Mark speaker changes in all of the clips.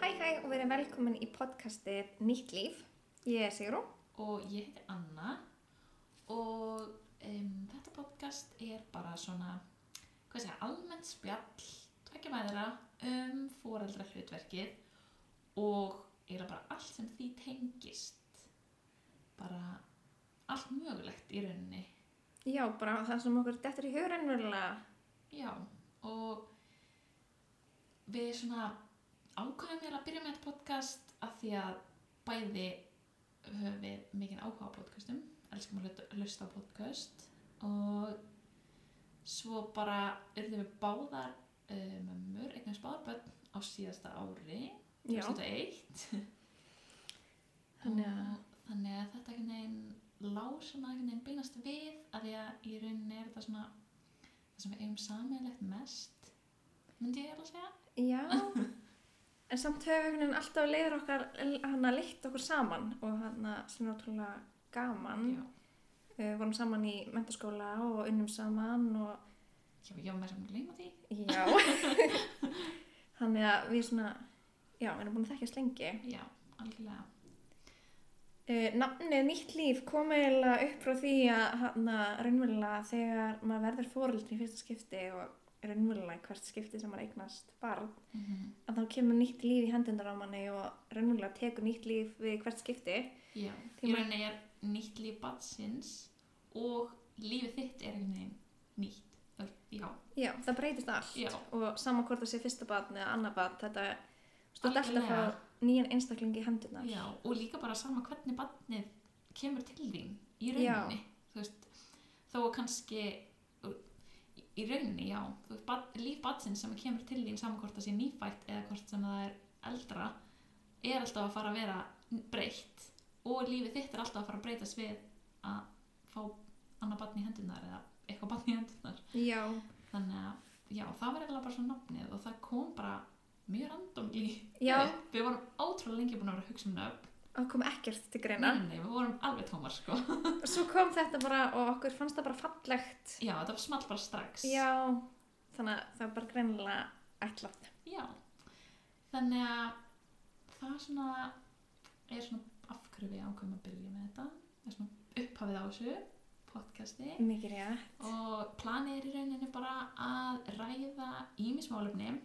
Speaker 1: Hæ hæ og verið velkomin í podcastið Nýtt líf. Ég er Sigrún.
Speaker 2: og ég heiti Anna og um, þetta podcast er bara svona hvað segja, almennt spjall tvekja mæðra um fóraldra hlutverkið og eiginlega bara allt sem því tengist bara allt mögulegt í rauninni
Speaker 1: Já, bara það sem okkur dettur í hugur ennverulega.
Speaker 2: já og við svona ákvæðum eiginlega að byrja með þetta podcast af því að bæði höfum við mikinn áhuga á podcastum elskum að hluta- hlusta á podcast og svo bara urðum við báðar uh, mömmur, eignast báðar börn á síðasta ári
Speaker 1: Já,
Speaker 2: 2001
Speaker 1: Þannig að-
Speaker 2: Og þannig að þetta einhvern veginn lá svona einhvern veginn beinast við að því að í rauninni er þetta svona það sem við eigum samanlegt mest myndi ég er að segja
Speaker 1: já. En samt höfum við einhvern veginn alltaf leiður okkar, hann að leitt okkur saman og hann að sem er ótrúlega gaman.
Speaker 2: já,
Speaker 1: Við vorum saman í mentaskóla og unnum saman og
Speaker 2: já, já, maður sem gleyma því
Speaker 1: já. Þannig að við svona, já, við erum búin að þekkjast lengi.
Speaker 2: já, algjörlega
Speaker 1: Uh, nafnið Nýtt líf kom eiginlega upp frá því að hana, raunverulega þegar maður verður fóreldri í fyrsta skipti og raunverulega í hvert skipti sem maður eignast barn
Speaker 2: mm
Speaker 1: að þá kemur nýtt líf í hendunar á manni og raunverulega tekur nýtt líf við hvert skipti
Speaker 2: já,
Speaker 1: Því
Speaker 2: í
Speaker 1: maður-
Speaker 2: rauninni er nýtt líf badsins og lífið þitt er einhvern veginn nýtt Öll- já,
Speaker 1: Já, það breytist allt
Speaker 2: Já.
Speaker 1: og saman hvort það sé fyrsta barn eða annað barn þetta stótt alltaf að
Speaker 2: Algjörlega.
Speaker 1: fá nýjan einstakling í hendunar
Speaker 2: já, og líka bara sama hvernig barnið kemur til þín í
Speaker 1: Já.
Speaker 2: rauninni þú veist, þó að kannski í rauninni, já þú veist, bad, líf badsins sem kemur til þín saman hvort það sé nýfætt eða hvort sem það er eldra er alltaf að fara að vera breytt og lífið þitt er alltaf að fara að breytast við að fá annað barn í hendunar eða eitthvað barn í hendunar
Speaker 1: Já,
Speaker 2: þannig að já, það var eitthvað bara svo nafnið og það kom bara mjög randomli
Speaker 1: Já.
Speaker 2: við vorum ótrúlega lengi búin að vera að hugsa um nöfn
Speaker 1: það kom ekkert til greina
Speaker 2: nei, nei, við vorum alveg tómar sko já,
Speaker 1: Svo kom þetta bara og okkur fannst það bara fallegt
Speaker 2: þetta var smalt bara strax
Speaker 1: Já, þannig að það var bara greinilega ætlað.
Speaker 2: Já. þannig að það svona er svona af hverju við ákveðum að byrja með þetta er svona upphafið á þessu podcasti
Speaker 1: Mikið rétt.
Speaker 2: og planið er í rauninni bara að ræða ímismálefni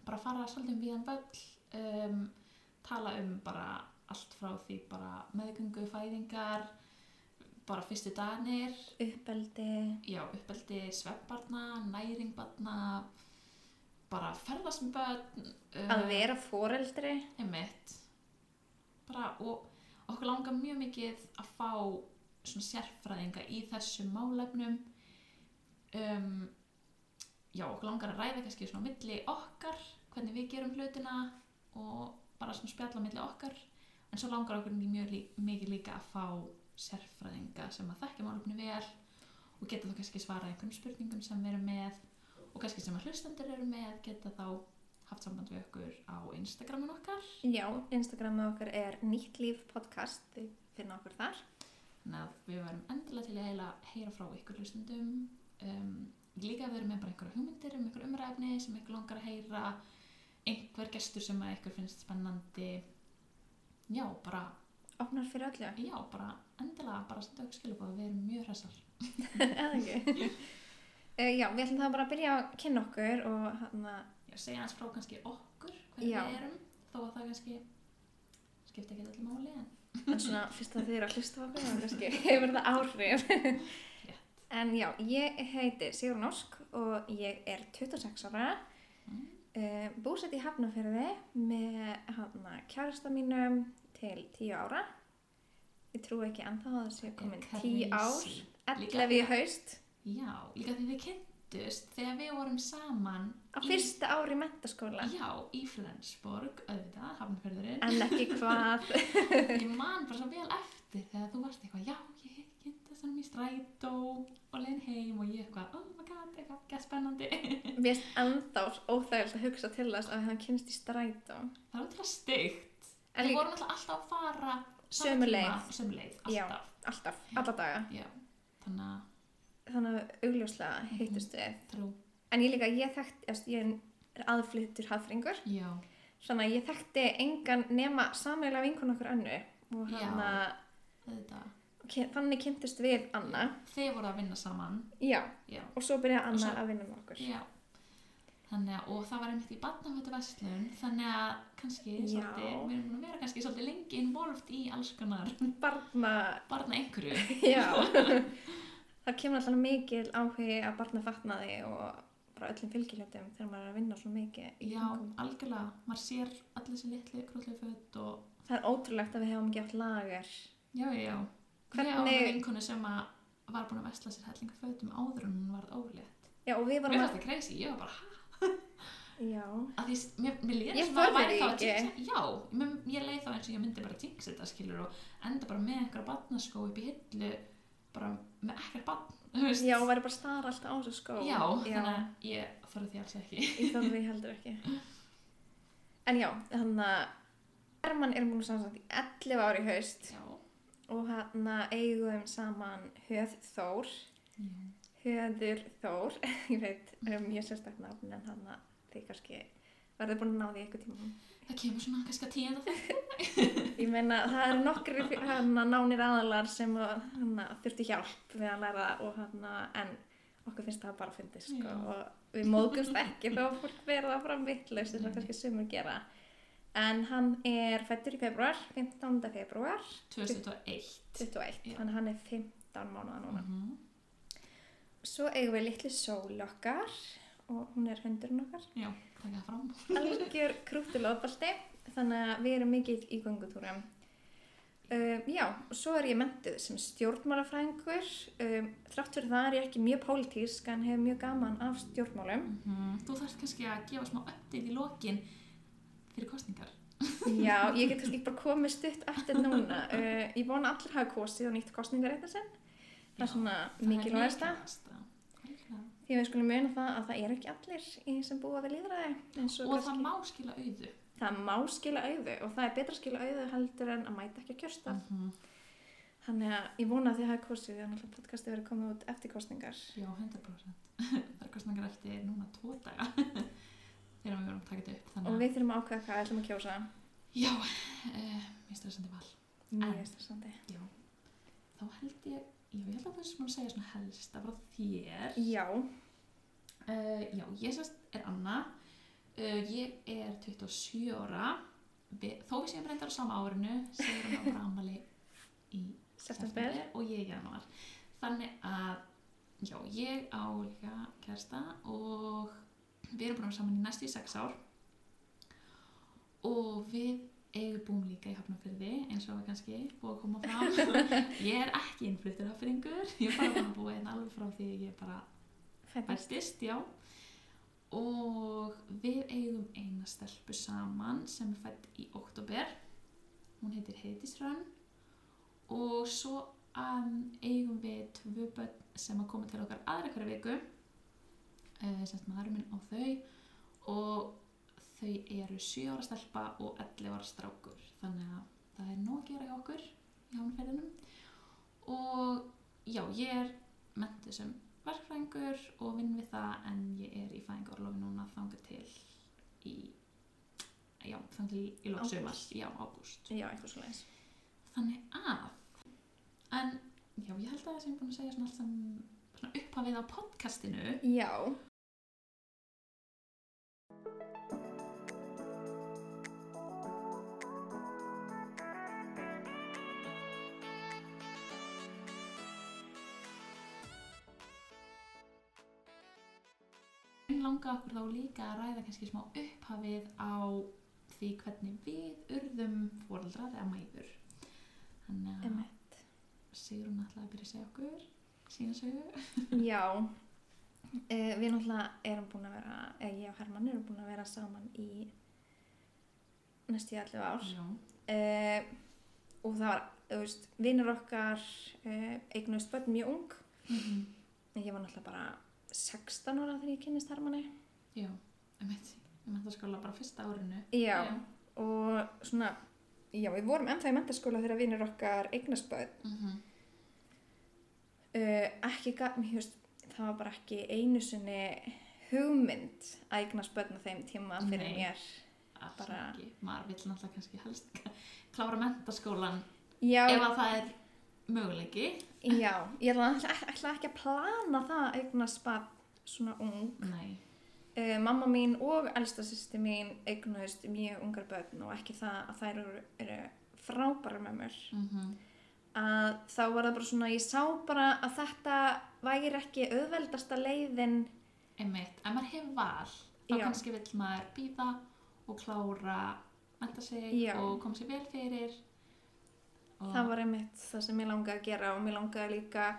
Speaker 2: bara fara svolítið um viðan völl um, tala um bara allt frá því bara meðgöngu, fæðingar bara fyrstu dagarnir
Speaker 1: Uppeldi.
Speaker 2: já, uppeldi svefnbarna, næringbarna bara ferðast með börn um,
Speaker 1: Að vera foreldri.
Speaker 2: einmitt bara og okkur langar mjög mikið að fá svona sérfræðinga í þessum málefnum um, já, okkur langar að ræða kannski svona á milli okkar hvernig við gerum hlutina og bara svona spjalla á milli okkar en svo langar okkur mjög lí, mikið líka að fá sérfræðinga sem að þekkja málefni vel og geta þá kannski svarað einhvern spurningum sem við erum með og kannski sem að hlustendur eru með geta þá haft samband við okkur á Instagramin okkar
Speaker 1: Já, Instagramið okkar er nýtt líf podcast. Þið finna okkur þar.
Speaker 2: þannig að við varum endilega til að heila heyra frá ykkur hlustundum um, líka ef við erum með bara einhverja hugmyndir um einhverja umræfni sem ykkur langar að heyra einhver gestur sem að ykkur finnst spennandi já, bara,
Speaker 1: Opnar fyrir öllu.
Speaker 2: já, bara endilega bara senda okkur skilabóð, við erum mjög hressar
Speaker 1: Eða ekki. Eh, Já, við ætlum það bara að byrja að kynna okkur og hann að,
Speaker 2: já, segja hans frá kannski okkur hvernig
Speaker 1: Já.
Speaker 2: við erum, þó að það kannski skipta ekki allir máli en
Speaker 1: en svona fyrst að þið eru að hlusta á okkur, þá kannski hefur það áhrif. En já, ég heiti Sigrun Ósk og ég er 26 ára.
Speaker 2: mm,
Speaker 1: Uh, búsett í Hafnarferði með hana, kjærasta mínum til 10 ára. Ég trú ekki ennþá að það sé komin 10 ár,
Speaker 2: crazy.
Speaker 1: 11 í haust,
Speaker 2: já, líka því þið kynntust þegar við vorum saman
Speaker 1: á
Speaker 2: í-
Speaker 1: fyrsta ári í mentaskóla.
Speaker 2: Já, í Flensborg, auðvitað, hafnfjörðurinn.
Speaker 1: En ekki hvað.
Speaker 2: Ég man bara svo vel eftir þegar þú varst eitthvað, já, ég kynnti þessum í strætó og leiðin heim og ég eitthvað, oh my god, eitthvað, gett spennandi.
Speaker 1: Mér erst ennþá óþægild að hugsa til þess að hann kynst í strætó.
Speaker 2: Það var alltaf stygt.
Speaker 1: En
Speaker 2: Við
Speaker 1: líka
Speaker 2: vorum alltaf alltaf að fara sama
Speaker 1: Sömu
Speaker 2: tíma,
Speaker 1: leið.
Speaker 2: Sömu leið,
Speaker 1: Já.
Speaker 2: alltaf.
Speaker 1: alltaf, alla daga.
Speaker 2: Já, þannig að,
Speaker 1: Þannig að augljóslega hittust við.
Speaker 2: trú,
Speaker 1: En ég líka, ég þekkt, ég er aðflyttur hafringur.
Speaker 2: já,
Speaker 1: svona ég þekkti engan nema sameiginlega vinkun okkur önnu og
Speaker 2: Já.
Speaker 1: hann
Speaker 2: þetta.
Speaker 1: að þannig kynntist við Anna
Speaker 2: Þið voru að vinna saman,
Speaker 1: já,
Speaker 2: já.
Speaker 1: og svo byrjaði Anna
Speaker 2: svo-
Speaker 1: að vinna með okkur
Speaker 2: Já. Þannig að, og það var einmitt í barnafötu vestlun, þannig að kannski,
Speaker 1: Já.
Speaker 2: svolítið, við erum búin að vera kannski svolítið lengi involved í alls konar
Speaker 1: barna,
Speaker 2: barna einhverju.
Speaker 1: já það kemur alltaf mikil áhugi að barna fatnaði og bara öllum fylgilöndum þegar maður er að vinna svo mikið í
Speaker 2: Já,
Speaker 1: kringum.
Speaker 2: algjörlega, maður sér allir þessi litlu krúllu föt og,
Speaker 1: það er ótrúlegt að við hefum gert lagar
Speaker 2: já, já, já. Ég á
Speaker 1: Hvernig-
Speaker 2: eina vinkonu sem að var búin að vesla sér hellinga fötum áður en hún varð ólétt.
Speaker 1: já, og við
Speaker 2: Mér
Speaker 1: varum
Speaker 2: fannst það crazy, ég var bara, hæ?
Speaker 1: að já,
Speaker 2: Að því, s- mér, mér leið
Speaker 1: Ég
Speaker 2: sem að
Speaker 1: þorði
Speaker 2: væri
Speaker 1: því
Speaker 2: þá að
Speaker 1: ekki.
Speaker 2: jinxa, já, mér, ég leið þá eins og ég myndi bara jinx þetta skilur og enda bara með einhverja barnaskó upp í hillu, bara með ekkert barn, þú veist.
Speaker 1: já, og væri bara að stara alltaf á þessu skó
Speaker 2: Já,
Speaker 1: já.
Speaker 2: þannig að ég þorði því alls ekki.
Speaker 1: Ég þótt því heldur ekki. En já, þannig að Herman er múin samsagt í 11 ári í haust
Speaker 2: Já,
Speaker 1: og hann eigum saman Höð Þór,
Speaker 2: já,
Speaker 1: Höður Þór, ég veit, um, ég sérstakt nafn en hann að þið kannski verður búin að ná því eitthvað tíma.
Speaker 2: það kemur svona kannski að tíða þetta.
Speaker 1: Ég meina það eru nokkri hana, nánir aðalar sem hana, þurfti hjálp við að læra og hana, en okkur finnst það bara fyndið sko,
Speaker 2: Já.
Speaker 1: og við móðgumst ekki þó að fólk verða fram vittlaust eins og
Speaker 2: Nei.
Speaker 1: kannski sumur gera en hann er fættur í februar 15. februar
Speaker 2: 2001.
Speaker 1: 21,
Speaker 2: Já.
Speaker 1: þannig að hann er 15 mánuða núna
Speaker 2: Mhm.
Speaker 1: svo eigum við litlu sól okkar og hún er hundurinn okkar
Speaker 2: Já, taka það fram.
Speaker 1: algjör krúttilóðbalti þannig að við erum mikið í göngutúrum um, já, og svo er ég mentuð sem stjórnmálafrængur um, þrátt fyrir það er ég ekki mjög pólitísk en hefur mjög gaman af stjórnmálum
Speaker 2: Mhm. Þú þarft kannski að gefa smá update í lokin fyrir kostningar.
Speaker 1: já, ég get kannski bara komið stutt eftir núna uh, ég vona allir hafa kosið og nýtt kostningarétta sinn það er
Speaker 2: Já,
Speaker 1: svona
Speaker 2: Það er
Speaker 1: mikilvægast
Speaker 2: mikilvægasta. Algjörlega.
Speaker 1: því að við skulum muna það að það er ekki allir í sem búa við líðræði eins og,
Speaker 2: Og það
Speaker 1: kannski-
Speaker 2: má skila auðu.
Speaker 1: það má skila auðu og það er betra að skila auðu heldur en að mæta ekki að kjörsta
Speaker 2: Mhm.
Speaker 1: Þannig að ég vona að þið hafi kosið því að náttúrulega podcasti verið komið út eftir kostningar.
Speaker 2: Já, 100%. það er kostningar eftir núna tvo daga þegar við vorum að taka þetta upp. Þannig
Speaker 1: Og
Speaker 2: að,
Speaker 1: við þurfum að ákveða hvað við ætlum að kjósa.
Speaker 2: já, uh, mér stressandi val.
Speaker 1: Mjög
Speaker 2: En-
Speaker 1: stressandi.
Speaker 2: Já. Þá held ég, já, ég held að það sem hún segja svona helst, það var þér.
Speaker 1: Já,
Speaker 2: Uh, já, ég sérst er Anna, uh, ég er 27 ára, Vi, þó við séum reyndar á sama árinu, segir hún á bara ammali í
Speaker 1: september.
Speaker 2: og ég í januar. Þannig að, já, ég á líka kærsta og við erum búin að vera saman í næstu í sex ár og við eigum búin líka í hafnafyrði eins og var kannski búið að koma fram. ég er ekki innfluttur hafnfyrringur, ég er bara búin að búa einn alveg frá því ég bara
Speaker 1: Fættist.
Speaker 2: fættist, já og við eigum eina stelpu saman sem er fætt í oktober hún heitir Heiðisrönn og svo um, eigum við tvö börn sem að koma til okkar aðra hverja viku uh, sem maður minn á þau og þau eru 7 ára stelpa og 11 ára strákur þannig að það er nóg að gera hjá okkur í hafnferðinum og já, ég er mentu sem verkfræðingur og vinn við það en ég er í fæðingarlofi núna þangar til í já, þangar til í lók
Speaker 1: Ágúst.
Speaker 2: sumars já, ágúst
Speaker 1: Já, eitthvað svo leiðis.
Speaker 2: þannig að en já, ég held að það sem ég er búin að segja svona allt sem svona upphafið á podcastinu
Speaker 1: Já.
Speaker 2: Mér langar okkur þá líka að ræða kannski smá upphafið á því hvernig við urðum fóröldrar eða mæður. Þannig að
Speaker 1: Einmitt.
Speaker 2: Sigrun ætlaði að byrja að segja okkur sína sögu.
Speaker 1: Já. Uh, við náttúrulega erum búin að vera, eða ég og Herman erum búin að vera saman í næstu í 11 ár.
Speaker 2: Já.
Speaker 1: uh, og það var, þú veist, vinnur okkar uh, eignuðist börn mjög ung
Speaker 2: Mhm.
Speaker 1: en ég var náttúrulega bara 16 ára þegar ég kynnist Hermanni
Speaker 2: Já, ég veit, ég veit að skóla bara fyrsta árinu.
Speaker 1: já, og svona já, við vorum ennþá í mentaskóla þegar vinnur okkar eignast börn
Speaker 2: Mhm.
Speaker 1: uh, ekki gaf, mér veist, það var bara ekki einu sinni hugmynd að eignast börn á þeim tíma fyrir
Speaker 2: Nei.
Speaker 1: mér
Speaker 2: alls
Speaker 1: Bara-
Speaker 2: ekki, maður vill náttúrulega kannski helst klára mentaskólan
Speaker 1: Já,
Speaker 2: ef að það er möguleiki
Speaker 1: já, ég ætla, ætla, ætla ekki að plana það að eignast barn svona ung.
Speaker 2: nei,
Speaker 1: Uh, mamma mín og elsta sýsti mín eignuðist mjög ungar börn og ekki það að þær eru, eru frábæra mömmur.
Speaker 2: mm
Speaker 1: Að þá var það bara svona, ég sá bara að þetta væri ekki auðveldasta leiðin
Speaker 2: einmitt ef maður hefur val, þá
Speaker 1: Já.
Speaker 2: kannski vill maður býða og klára menta sig
Speaker 1: Já.
Speaker 2: og koma sér vel fyrir og
Speaker 1: það var einmitt það sem ég langaði að gera og mér langaði líka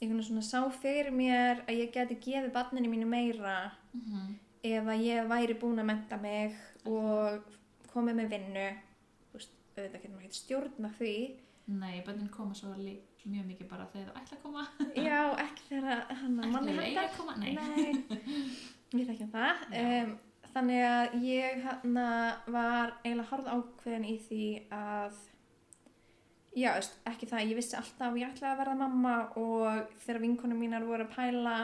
Speaker 1: einhvern veginn svona sá fyrir mér að ég geti gefið barninu mínu meira
Speaker 2: Mhm,
Speaker 1: ef að ég væri búin að menta mig og komið með vinnu þú veist, auðvitað getur maður ekki stjórna því
Speaker 2: nei, bönnin koma svo lí- mjög mikið bara þegar það ætla að koma
Speaker 1: já, ekki þegar að hann að
Speaker 2: ekki
Speaker 1: manni
Speaker 2: þegar það eiga
Speaker 1: hættar
Speaker 2: að koma, nei,
Speaker 1: nei, við þekkjum það
Speaker 2: Já.
Speaker 1: um, þannig að ég hann var eiginlega harð ákveðin í því að já, veist, ekki það, ég vissi alltaf að ég ætlaði að verða mamma og þegar vinkonum mínar voru að pæla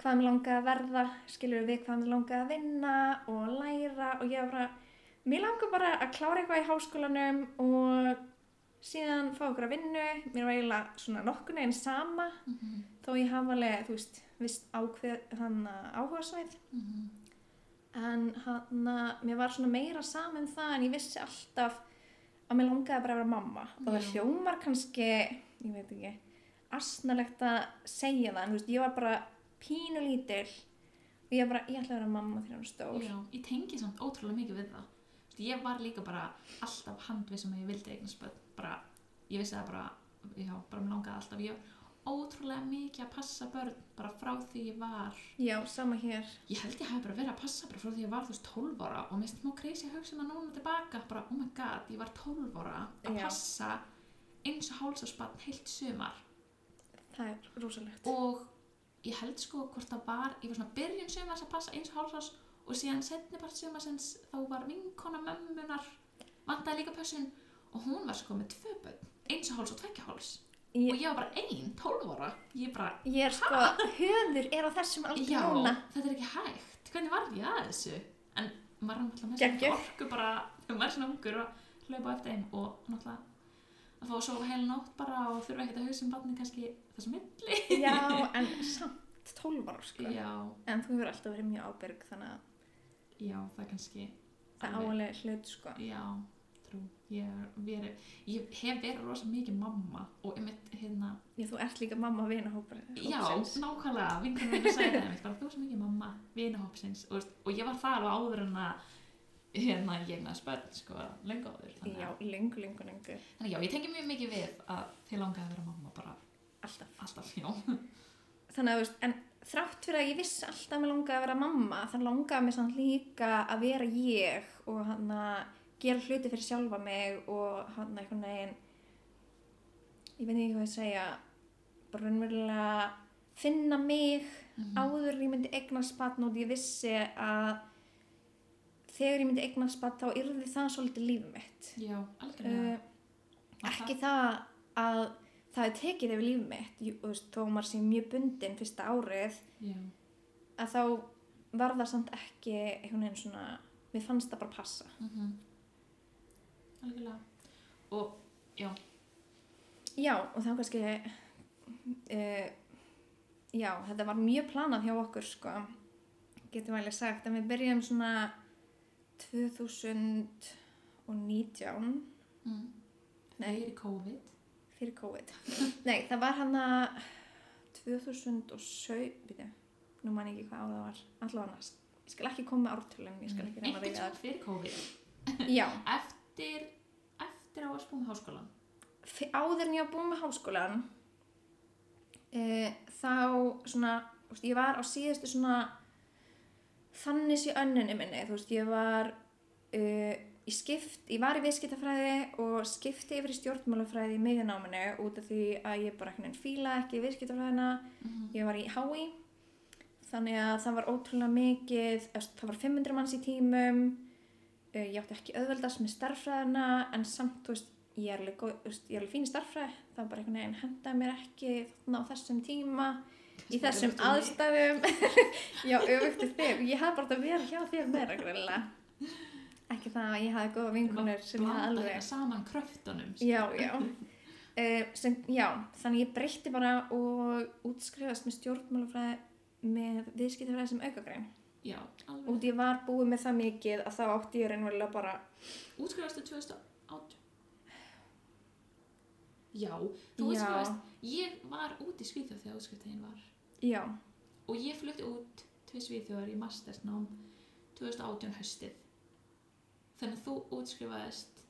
Speaker 1: hvað mér langaði að verða skilur við hvað mér langaði að vinna og læra og ég var bara mér langar bara að klára eitthvað í háskólanum og síðan fá okkur að vinnu mér var eiginlega svona nokkurnu einn sama
Speaker 2: Mhm,
Speaker 1: þó ég hafa alveg, þú veist, vist ákveð hann áhuga svæð
Speaker 2: mhm,
Speaker 1: en hann uh, mér var svona meira saman það en ég vissi alltaf að mér langaði bara að vera mamma og það
Speaker 2: Já.
Speaker 1: hljómar kannski, ég veit ekki asnalegt að segja það en þú veist, ég var bara pínu lítil og ég var bara, ég ætla að vera mamma þegar hún er stór
Speaker 2: já, ég tengi samt ótrúlega mikið við það Þú veist, ég var líka bara alltaf handvissum að ég vildi eignast börn bara, ég vissi það bara já, bara mér langaði alltaf ég var ótrúlega mikið að passa börn bara frá því ég var
Speaker 1: já, sama hér
Speaker 2: ég held ég hafi bara verið að passa bara frá því ég var þú veist 12 ára og mér smá crazy að hugsa maður núna tilbaka bara oh my god, ég var 12 ára að
Speaker 1: Já.
Speaker 2: passa eins og hálsaspann heilt sumar
Speaker 1: það er rosalegt
Speaker 2: og ég held sko hvort það var ég var svona byrjun sumars að passa eins og hálsás og síðan setni part sumarsins þá var vinkona mömmunar vantaði líka pössun og hún var sko með tvö bönn eins og háls og tvekja háls og
Speaker 1: ég,
Speaker 2: ég var bara ein, 12 ára ég bara,
Speaker 1: ég er sko, höfður er á þessum aldrei
Speaker 2: já,
Speaker 1: núna
Speaker 2: þetta er ekki hægt hvernig varð ég að þessu en maður er náttúrulega með
Speaker 1: Geggjuð.
Speaker 2: svona orku bara þegar maður er svona ungur að hlaupa á eftir einn og náttúrulega að fá að sofa heil nótt bara og þurfa ekkert að hugsa um barni kannski þessu milli
Speaker 1: já, en samt 12 ára sko
Speaker 2: já,
Speaker 1: En þú hefur alltaf verið mjög ábyrg þannig að
Speaker 2: já, það er kannski
Speaker 1: það
Speaker 2: Alveg.
Speaker 1: áalega hlut sko.
Speaker 2: já, trú ég, er verið, ég hef verið rosa mikið mamma og einmitt hérna
Speaker 1: Ég, þú ert líka mamma vina hópar.
Speaker 2: Já, nákvæmlega, vinkunum minn sagði það einmitt, bara þú sem ekki mamma, vinahópsins og, veist, og ég var það alveg áður en að hérna ég með spönn, sko, löngu áður þannig,
Speaker 1: Já,
Speaker 2: að-
Speaker 1: lengur, lengur, lengur.
Speaker 2: þannig að já, ég tengi mjög mikið við að þið langaði að vera mamma bara
Speaker 1: Alltaf.
Speaker 2: alltaf, já
Speaker 1: Þannig að, þú veist, en þrátt fyrir að ég vissi alltaf að mér langaði að vera mamma, þannig langaði mér samt líka að vera ég og hann að gera hluti fyrir sjálfa mig og hann að einhvern veginn, ég veit ekki hvað ég segja, bara raunverulega finna mig
Speaker 2: Mhm.
Speaker 1: áður en ég myndi eignast batn og ég vissi að þegar ég myndi eignast batn þá yrði það svolítið lífið mitt
Speaker 2: Já, algjörlega
Speaker 1: uh, ekki það að það er tekið yfir lífið mitt Jú, þú veist, þó maður sé mjög bundin fyrsta árið
Speaker 2: Já,
Speaker 1: að þá var það samt ekki einhvern veginn svona mér fannst það bara passa
Speaker 2: mhm Algjörlega Og, já,
Speaker 1: já og þá kannski uh, já þetta var mjög planað hjá okkur sko getum alveg sagt en við byrjum svona 2019
Speaker 2: mm,
Speaker 1: Nei.
Speaker 2: fyrir COVID
Speaker 1: fyrir COVID nei, það var hann að 2007 byrja. nú man ég ekki hvað á það var allavega annars, ég skal ekki koma með ártölum ég skal ekki reyna að
Speaker 2: Einhvern
Speaker 1: reyna
Speaker 2: tímann fyrir COVID
Speaker 1: það já,
Speaker 2: Eftir, eftir á að spúma háskólan
Speaker 1: f- áður en ég var búin með háskólan e, þá svona, þú veist, ég var á síðustu svona þannig sé önnunni minni, þú veist, ég var e, ég skipt, ég var í viðskiptafræði og skipti yfir í stjórnmálafræði í miðjanáminu út af því að ég bara einhvern veginn fíla ekki viðskiptafræðina
Speaker 2: mm
Speaker 1: ég var í HÍ þannig að það var ótrúlega mikið þú veist, það var 500 manns í tímum eh, ég átti ekki auðveldast með starffræðina en samt, þú veist, ég er alveg, góð, þú veist, ég er alveg fín í starffræði það var bara einhvern veginn hendaði mér ekki þarna á þessum tíma í þessum um aðstæðum já, öfugt við þig ég hef bara átt að vera hjá þér meira greinlega ekki það að ég hafi góða vinkunir sem ég
Speaker 2: blanda
Speaker 1: hafi
Speaker 2: hérna
Speaker 1: alveg
Speaker 2: saman kröftunum
Speaker 1: já, já. Uh, sem, já, þannig ég breytti bara og útskrifast með stjórnmálafræði með viðskiptafræði sem aukagrein
Speaker 2: já alveg,
Speaker 1: og ég var búið með það mikið að þá átti ég reynverulega bara
Speaker 2: útskrifastu 2018 já,
Speaker 1: Já.
Speaker 2: þú útskrifast ég var út í Svíþjóð þegar útskriftegin var
Speaker 1: já,
Speaker 2: og ég flutti út til Svíþjóðar í mastersnám 2018 haustið þannig að þú útskrifaðist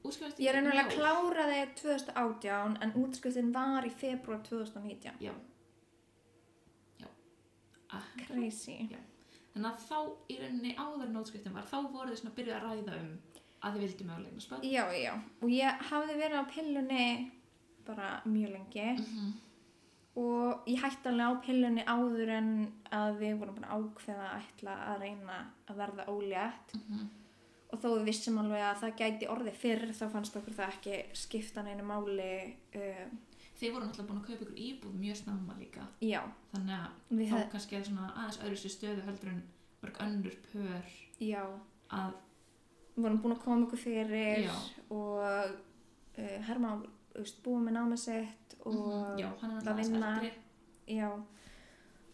Speaker 2: útskrifaðist í
Speaker 1: ég reynverulega
Speaker 2: jól.
Speaker 1: kláraði 2018 en útskriftin var í februar 2019
Speaker 2: já já Akkurat.
Speaker 1: crazy
Speaker 2: þannig að þá í rauninni áður en útskriftin var þá voru þið svona byrjuð að ræða um að þið vildi mögulega eignast börn
Speaker 1: já, já, og ég hafði verið á pillunni bara mjög lengi
Speaker 2: Mhm.
Speaker 1: og ég hætti alveg á pillunni áður en að við vorum búin að ákveða að ætla að reyna að verða ólétt
Speaker 2: Mhm.
Speaker 1: og þó við vissum alveg að það gæti orðið fyrr þá fannst okkur það ekki skipta neinu máli uh,
Speaker 2: þið voru náttúrulega búin að kaupa ykkur íbúð mjög snemma líka
Speaker 1: já,
Speaker 2: þannig að
Speaker 1: við
Speaker 2: þá
Speaker 1: hef,
Speaker 2: kannski er svona aðeins öðru sér stöðu heldur en mörg önnur pör
Speaker 1: já,
Speaker 2: að
Speaker 1: við vorum búin að koma okkur fyrir
Speaker 2: Já.
Speaker 1: og uh, Herma búið með námið sitt og
Speaker 2: Mhm, já, hann er
Speaker 1: að
Speaker 2: náttúrulega aðeins
Speaker 1: vinna.
Speaker 2: eldri
Speaker 1: Já,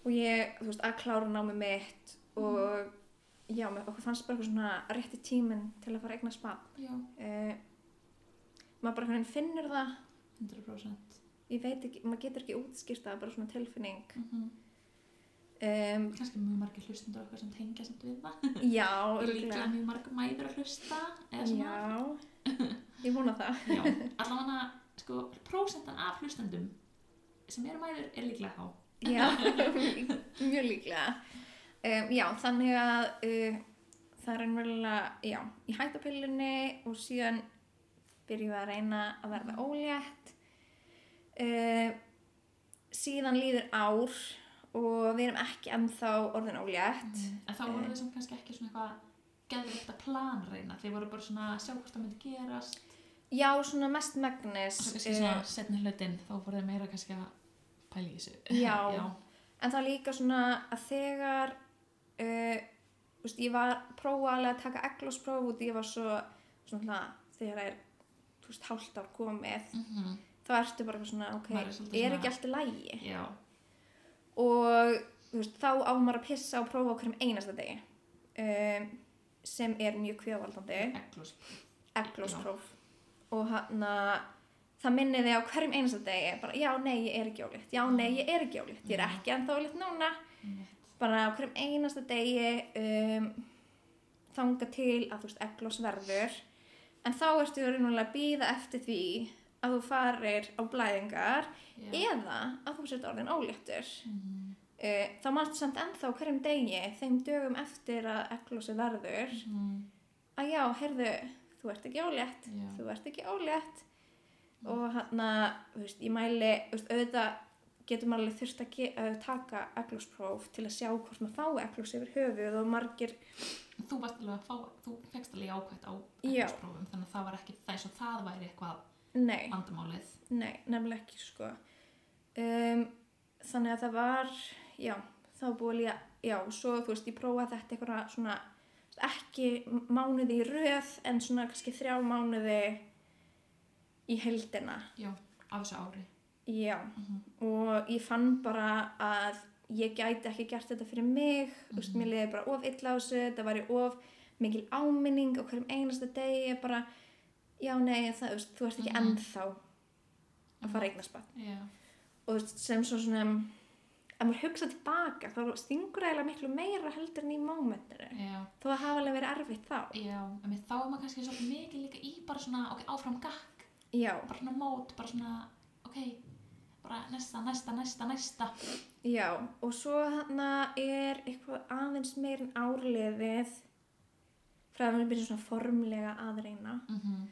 Speaker 1: og ég, þú veist, að klára námið mitt og já, mér- okkur fannst bara eitthvað svona rétti tíminn til að fara að eigna spap.
Speaker 2: já,
Speaker 1: Uh, maður bara hvernig finnur það,
Speaker 2: 100%
Speaker 1: ég veit ekki, maður getur ekki útskýrt það, bara svona tilfinning.
Speaker 2: mm
Speaker 1: Um,
Speaker 2: kannski mjög margir hlustundur okkar sem tengja samt við það
Speaker 1: já,
Speaker 2: og líklega
Speaker 1: örugglega.
Speaker 2: mjög marg mæður að hlusta eða svona
Speaker 1: Já, ég vona það.
Speaker 2: Já, allavega sko, prósentan af hlustendum sem eru mæður er líklega þá
Speaker 1: Já, mjög líklega. Um, já, þannig að uh, það er einverulega, já, ég hætti á pillinni og síðan byrjum við að reyna að verða ólétt. Uh, síðan líður ár og við erum ekki ennþá orðin ólétt.
Speaker 2: en þá voru þið sem kannski ekki svona eitthvað geðvitt að planreina þið voru bara svona að sjá hvort það myndi gerast
Speaker 1: Já, svona mest megnis.
Speaker 2: og svo kannski
Speaker 1: eh.
Speaker 2: svona setni hlutin þá voru þið meira kannski að pæla í þessu
Speaker 1: Já.
Speaker 2: já,
Speaker 1: En það er líka svona að þegar uh, veist, ég var prófa alveg að taka eglospróf út, ég var svo svona þegar það er þú veist, hálft ár komið,
Speaker 2: Mhm.
Speaker 1: þá ertu bara eitthvað svona, ok,
Speaker 2: Maður er svolítið
Speaker 1: er
Speaker 2: svona-
Speaker 1: ekki allt í lægi
Speaker 2: já.
Speaker 1: og þú veist, þá á maður að pissa og prófa okkur um einasta degi um, sem er mjög kvíðavaldandi,
Speaker 2: eglós
Speaker 1: eglospróf og hann að það minni þig á hverjum einasta degi, bara já, nei, ég er ekki ólétt, já, nei, ég er ekki ólétt, ég er ekki ennþá ólétt núna
Speaker 2: Einmitt.
Speaker 1: bara á hverjum einasta degi um, þanga til að þú veist eglós verður en þá ertu raunulega að býða eftir því að þú farir á blæðingar
Speaker 2: já.
Speaker 1: eða að þú sért orðin óléttur
Speaker 2: Mhm.
Speaker 1: uh, þá mannstu samt ennþá á hverjum degi þeim dögum eftir að eglósi verður
Speaker 2: Mhm.
Speaker 1: að já, heyrðu, þú ert ekki ólétt
Speaker 2: Já.
Speaker 1: þú ert ekki ólétt og hann að, þú veist, ég mæli þú veist, auðvitað getur maður alveg þurft að ge- að taka eglóspróf til að sjá hvort maður fái eglós yfir höfuð og margir,
Speaker 2: þú varst alveg að fá þú fegst alveg jákvætt á
Speaker 1: Já.
Speaker 2: eglósprófum þannig að það var ekki þess að það væri eitthvað
Speaker 1: nei
Speaker 2: vandamálið
Speaker 1: nei, nefnilega ekki sko um, þannig að það var já, þá búið líka já, svo þú veist, ég prófaði þetta einhverja svona ekki mánuði í röð en svona kannski þrjá mánuði í heldina
Speaker 2: já, af þessu ári
Speaker 1: Já, og ég fann bara að ég gæti ekki gert þetta fyrir mig, þú veist, mér liði bara of illa á þessu, þetta væri of mikil áminning og hverjum einasta degi, ég bara, já, nei, það, þú veist, þú ert ekki
Speaker 2: Mhm.
Speaker 1: ennþá að fara eignasbann.
Speaker 2: já,
Speaker 1: Og þú veist, sem svo svona, um, ef maður hugsa tilbaka, þá stingur það eiginlega miklu meira heldur en í mómentinu.
Speaker 2: já
Speaker 1: Þó að hafa alveg verið erfitt þá.
Speaker 2: Já, en þá er maður kannski svolítið mikið líka í bara svona, ok, áfram gakk,
Speaker 1: Já,
Speaker 2: bara svona mót, bara svona, ok, bara næsta, næsta, næsta, næsta.
Speaker 1: Já, og svo hérna er eitthvað aðeins meir en árliðið frá að við byrjum svona formlega að reyna.
Speaker 2: Mm -hmm.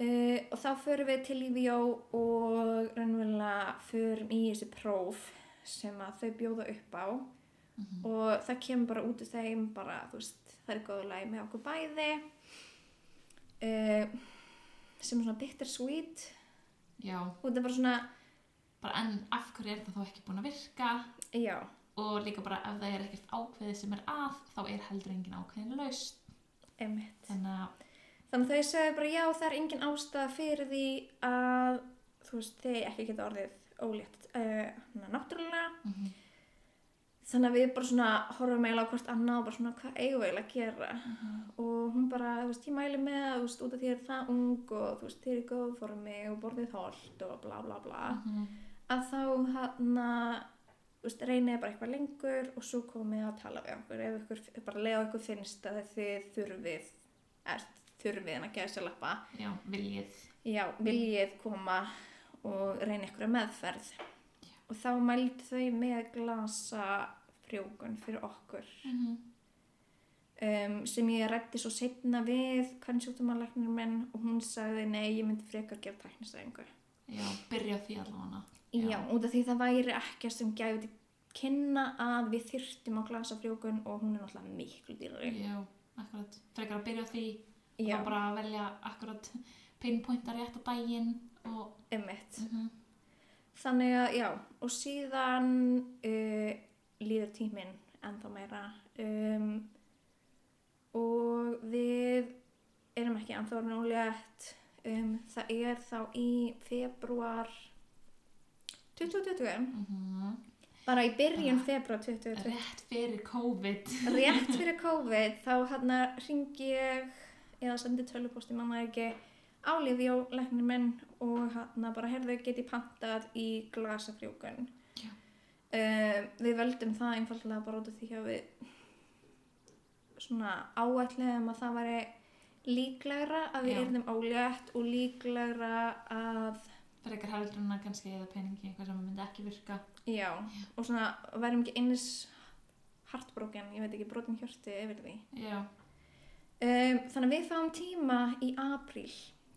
Speaker 1: Uh, og þá förum við til Lífjó og raunverulega förum í þessi próf sem að þau bjóða upp á
Speaker 2: Mhm.
Speaker 1: og það kemur bara út úr þeim bara, þú veist, það er góðu lagi með okkur bæði uh, sem er svona bittersweet
Speaker 2: Já,
Speaker 1: og þetta er bara svona,
Speaker 2: bara en af hverju er það þá ekki búin að virka
Speaker 1: já,
Speaker 2: og líka bara ef það er ekkert ákveðið sem er að, þá er heldur engin ákveðin laust.
Speaker 1: Einmitt.
Speaker 2: þannig að
Speaker 1: Þannig að þau segðu bara já, það er engin ástæða fyrir því að þú veist, þau ekki geta orðið ólétt uh, náttúrulega.
Speaker 2: mhm,
Speaker 1: Þannig að við bara svona horfum eiginlega á hvort annað og bara svona hvað eigum við eiginlega að gera. Og hún bara, þú veist, ég mæli með að, þú veist, út af því að það ung og þú veist, þið eru í góðu formi og borðið holt og bla bla bla.
Speaker 2: mhm,
Speaker 1: Að þá hann að, þú veist, reynið bara eitthvað lengur og svo komið að tala við okkur. Ef ykkur, bara leiða ykkur finnst að þið þurfið, er, þurfið en að geða sér lappa.
Speaker 2: já, viljið
Speaker 1: Já, viljið koma og reyna ykkur að meðferð. Og þá mældu þau með glasa frjókun fyrir okkur
Speaker 2: mhm,
Speaker 1: um, sem ég rætti svo setna við kvennsjúktumalæknir minn og hún sagði nei, ég myndi frekar gera tæknisæðingu.
Speaker 2: já, byrja á því allavega
Speaker 1: Já.
Speaker 2: Já.
Speaker 1: út af því það væri ekkert sem gæfi til kynna að við þyrftum á glasa frjókun og hún er náttúrulega miklu dýrari.
Speaker 2: já, akkurat, frekar að byrja á því
Speaker 1: Já,
Speaker 2: og bara velja akkurat pinpointa rétt á daginn og
Speaker 1: emmitt.
Speaker 2: mhm,
Speaker 1: Þannig að já, og síðan uh, líður tíminn ennþá meira um, og við erum ekki ennþá nálegt um, það er þá í februar 2020
Speaker 2: mhm,
Speaker 1: bara í byrjun februar 2020
Speaker 2: rétt fyrir COVID
Speaker 1: rétt fyrir COVID þá hann ringi ég eða sendi töluposti manna ekki á Livjó, læknir minn og hann bara herðu geti pantað í glasafrjókun
Speaker 2: Já.
Speaker 1: uh, við veldum það einfallega bara út af því að við svona áætliðum að það væri líklegra að við
Speaker 2: Já.
Speaker 1: yrðum álétt og líklegra að
Speaker 2: frekar helgrunna kannski eða peningi eitthvað sem myndi ekki virka
Speaker 1: já, og svona værum ekki eins hartbrókin, ég veit ekki, brotin hjörtu yfir því
Speaker 2: já,
Speaker 1: Um, þannig að við fáum tíma í apríl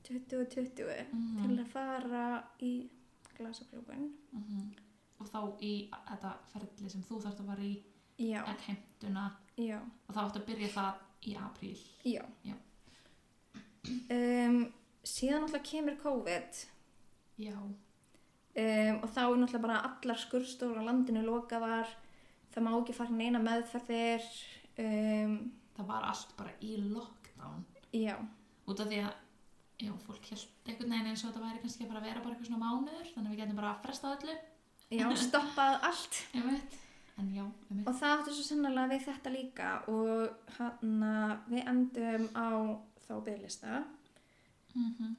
Speaker 1: 2020
Speaker 2: mhm,
Speaker 1: til að fara í glasafrjókun.
Speaker 2: mhm. og þá í þetta ferli sem þú þarft að fara í
Speaker 1: Já,
Speaker 2: ekki heimtuna
Speaker 1: já,
Speaker 2: og þá áttu að byrja það í apríl
Speaker 1: já.
Speaker 2: Já.
Speaker 1: Um, síðan náttúrulega kemur COVID
Speaker 2: já,
Speaker 1: um, og þá er náttúrulega bara allar skurstofur á landinu lokaðar, það má ekki fara í neina meðferðir, um,
Speaker 2: það var allt bara í lockdown
Speaker 1: já,
Speaker 2: út af því að já, fólk held einhvern veginn eins og þetta væri kannski bara að vera bara eitthvað svona mánuður þannig að við getum bara að fresta öllu
Speaker 1: já, stoppað allt.
Speaker 2: einmitt. en já, einmitt.
Speaker 1: Og það áttu svo sannlega við þetta líka og hann við endum á þá bygglista.
Speaker 2: Mm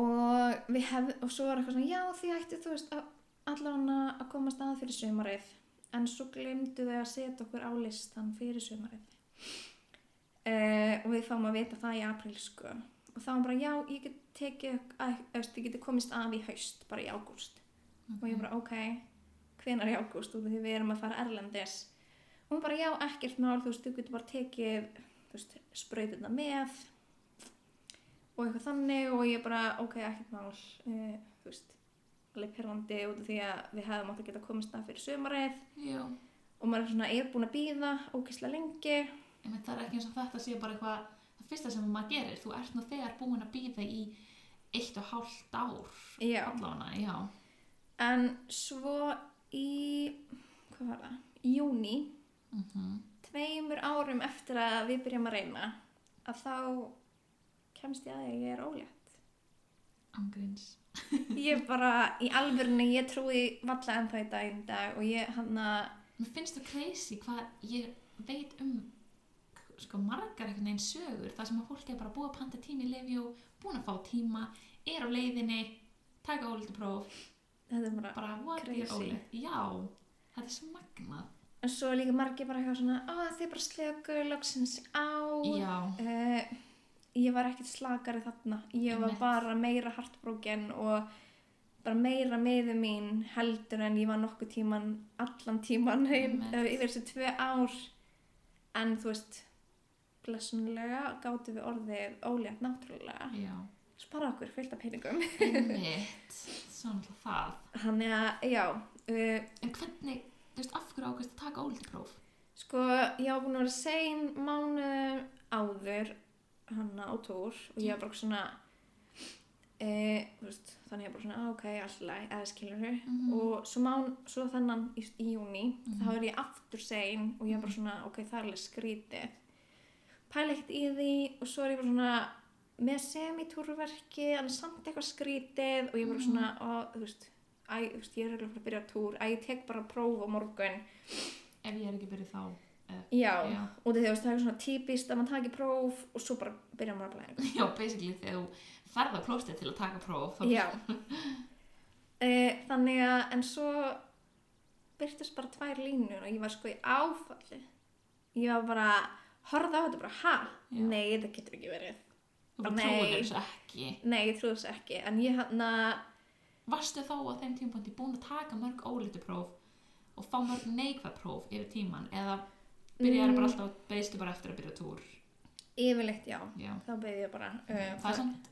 Speaker 1: og við hef, og svo var eitthvað svona já því ætti þú veist að- allavega að koma stað fyrir sumarið en svo glemdu þau að setja okkur á listan fyrir sumarið uh, og við fáum að vita það í apríl sko og þá var bara já ég get tekið að, eftir, ég geti komist af í haust bara í ágúst og ég bara ok hvenar í ágúst út af því við erum að fara erlendis og hún bara já ekkert mál þú veist þú getur bara tekið þú veist sprautina með og eitthvað þannig og ég bara ok ekkert mál uh, þú veist alveg perrandi út af því að við hefðum átt að geta komist að fyrir sömarið
Speaker 2: já,
Speaker 1: og maður er svona er búin að býða ókislega lengi
Speaker 2: einmitt, það er ekki eins og þetta sé bara eitthvað það fyrsta sem maður gerir, þú ert nú þegar búin að býða í eitt og hálft ár
Speaker 1: já
Speaker 2: allavega, já
Speaker 1: en svo í hvað var það? í júni
Speaker 2: mm
Speaker 1: tveimur árum eftir að við byrjum að reyna að þá kemst ég að því að ég er ólétt
Speaker 2: angriðins
Speaker 1: ég bara í alvörinu ég trúi valla ennþá í dag í dag og ég hann að
Speaker 2: Mér finnst það crazy hvað ég veit um sko margar einhvern veginn sögur þar sem að fólk er bara búið að panta tími í Livjó, búin að fá tíma, er á leiðinni, taka ólítið próf,
Speaker 1: þetta er bara
Speaker 2: bara what ég
Speaker 1: Crazy.
Speaker 2: ólítið. Já, þetta er svo magnað.
Speaker 1: en svo er líka margir bara eitthvað svona að þið bara slöku loksins á
Speaker 2: Já,
Speaker 1: uh, ég var ekkert slakari þarna ég var
Speaker 2: Einmitt.
Speaker 1: bara meira hartbrókin og bara meira meðu mín heldur en ég var nokkuð tíman allan tíman heim,
Speaker 2: Einmitt.
Speaker 1: eh, yfir þessi tvö ár en þú veist blessunlega gáttu við orðið ólétt náttúrulega
Speaker 2: já,
Speaker 1: spara okkur fylgta peningum
Speaker 2: einmitt, svo náttúrulega það.
Speaker 1: hann er að, já uh,
Speaker 2: En hvernig, þú veist, af hverju ákvæmst að taka ólítið próf?
Speaker 1: Sko, ég var búin að vera sein mánuðum áður hann á tór og ég var bara svona e, veist, þannig ég var bara svona, "Ah, ok, alltaf eða skilur þau
Speaker 2: Mhm.
Speaker 1: og svo, mán, svo þannan í, í júni
Speaker 2: Mhm.
Speaker 1: þá er ég aftur sein og ég var bara svona, ok, það er alveg skrítið pæla ekkert í því og svo er ég bara svona með semitúrverki en samt eitthvað skrítið og ég er bara svona ó, þú veist, æ, þú veist, ég er eiginlega bara að byrja á túr æ, ég tek bara próf á morgun
Speaker 2: ef ég er ekki byrjuð þá eða-
Speaker 1: já,
Speaker 2: Já.
Speaker 1: og því þú veist, það er svona típist að maður taki próf og svo bara byrja maður að blæða
Speaker 2: já, basically þegar þú ferð á klóstið til að taka próf þá
Speaker 1: Já e, Þannig að en svo byrtist bara tvær línur og ég var sko í áfalli Ég var bara horfði á þetta bara ha,
Speaker 2: Já.
Speaker 1: nei þetta getur ekki verið
Speaker 2: þú bara
Speaker 1: Nei.
Speaker 2: trúir þessu ekki
Speaker 1: Nei, ég trúi þess ekki en ég hérna, hann að
Speaker 2: varstu þá á þeim tímapunkti búin að taka mörg ólítu próf og fá mörg neikvæð próf yfir tíman eða byrjar
Speaker 1: Mm.
Speaker 2: bara alltaf, beistu bara eftir að byrja túr
Speaker 1: yfirleitt já
Speaker 2: já,
Speaker 1: þá beði ég bara uh,
Speaker 2: það er samt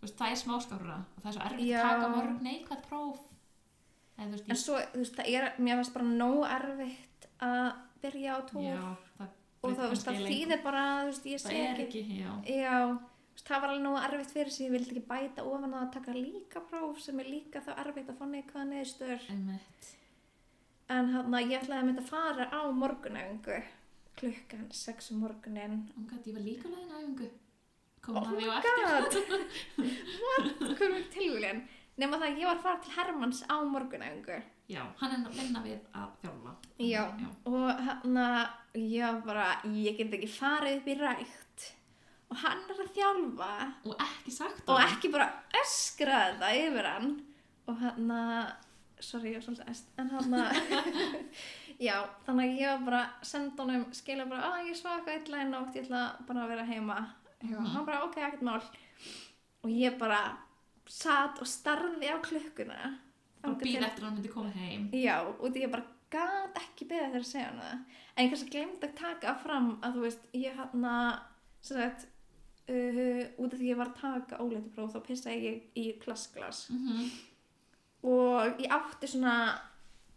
Speaker 2: þú veist, það er smáskára og það er svo erfitt
Speaker 1: Já.
Speaker 2: að taka mörg neikvæð próf eða þú
Speaker 1: En
Speaker 2: veist,
Speaker 1: svo, þú veist, það er, mér finnst bara nóg erfitt að byrja á
Speaker 2: ég,
Speaker 1: tól
Speaker 2: já það,
Speaker 1: og það,
Speaker 2: breytir
Speaker 1: þú veist, það
Speaker 2: kannski lengur.
Speaker 1: þýðir bara, þú veist, ég sé
Speaker 2: það er
Speaker 1: ekki
Speaker 2: ekki, já
Speaker 1: Já, þú veist, það var alveg nógu erfitt fyrir sig, ég vildi ekki bæta ofan á að taka líka próf sem er líka þá erfitt að fá neikvæða neðstöður.
Speaker 2: einmitt,
Speaker 1: En hann ég ætlaði að mynda að fara á morgunæfingu klukkan 6 um morgunin.
Speaker 2: umgat, ég var líka leiðin æfingu
Speaker 1: Oh
Speaker 2: komið að
Speaker 1: my
Speaker 2: því á eftir
Speaker 1: God! What? Hvernig er tilvílinn? Nefna það að ég var að fara til Hermanns á morgunæfingu.
Speaker 2: já, hann er að vinna við að þjálfa
Speaker 1: Já.
Speaker 2: já,
Speaker 1: Og hann að ég var bara, ég get ekki farið upp í rækt. Og hann er að þjálfa.
Speaker 2: og ekki sagt
Speaker 1: og
Speaker 2: honum.
Speaker 1: ekki bara öskra þetta yfir hann og hann að sorry, ég er svolítið æst en hann að já, þannig að ég var bara að senda honum skilja bara, að ég svaf eitthvað illa í nótt ég ætla bara að vera heima og hann bara, ok, ekkert mál og ég bara satt og starði á klukkuna
Speaker 2: bara
Speaker 1: þangað
Speaker 2: býð
Speaker 1: til-
Speaker 2: eftir að hann myndi koma heim
Speaker 1: já, og því ég bara gat ekki beðið þegar að segja hann það en ég kannski glemt að taka fram að þú veist, ég hann að sem sagt uh, út af því ég var að taka óleiti próf þá pissaði ég í klassglas
Speaker 2: mm
Speaker 1: og ég átti svona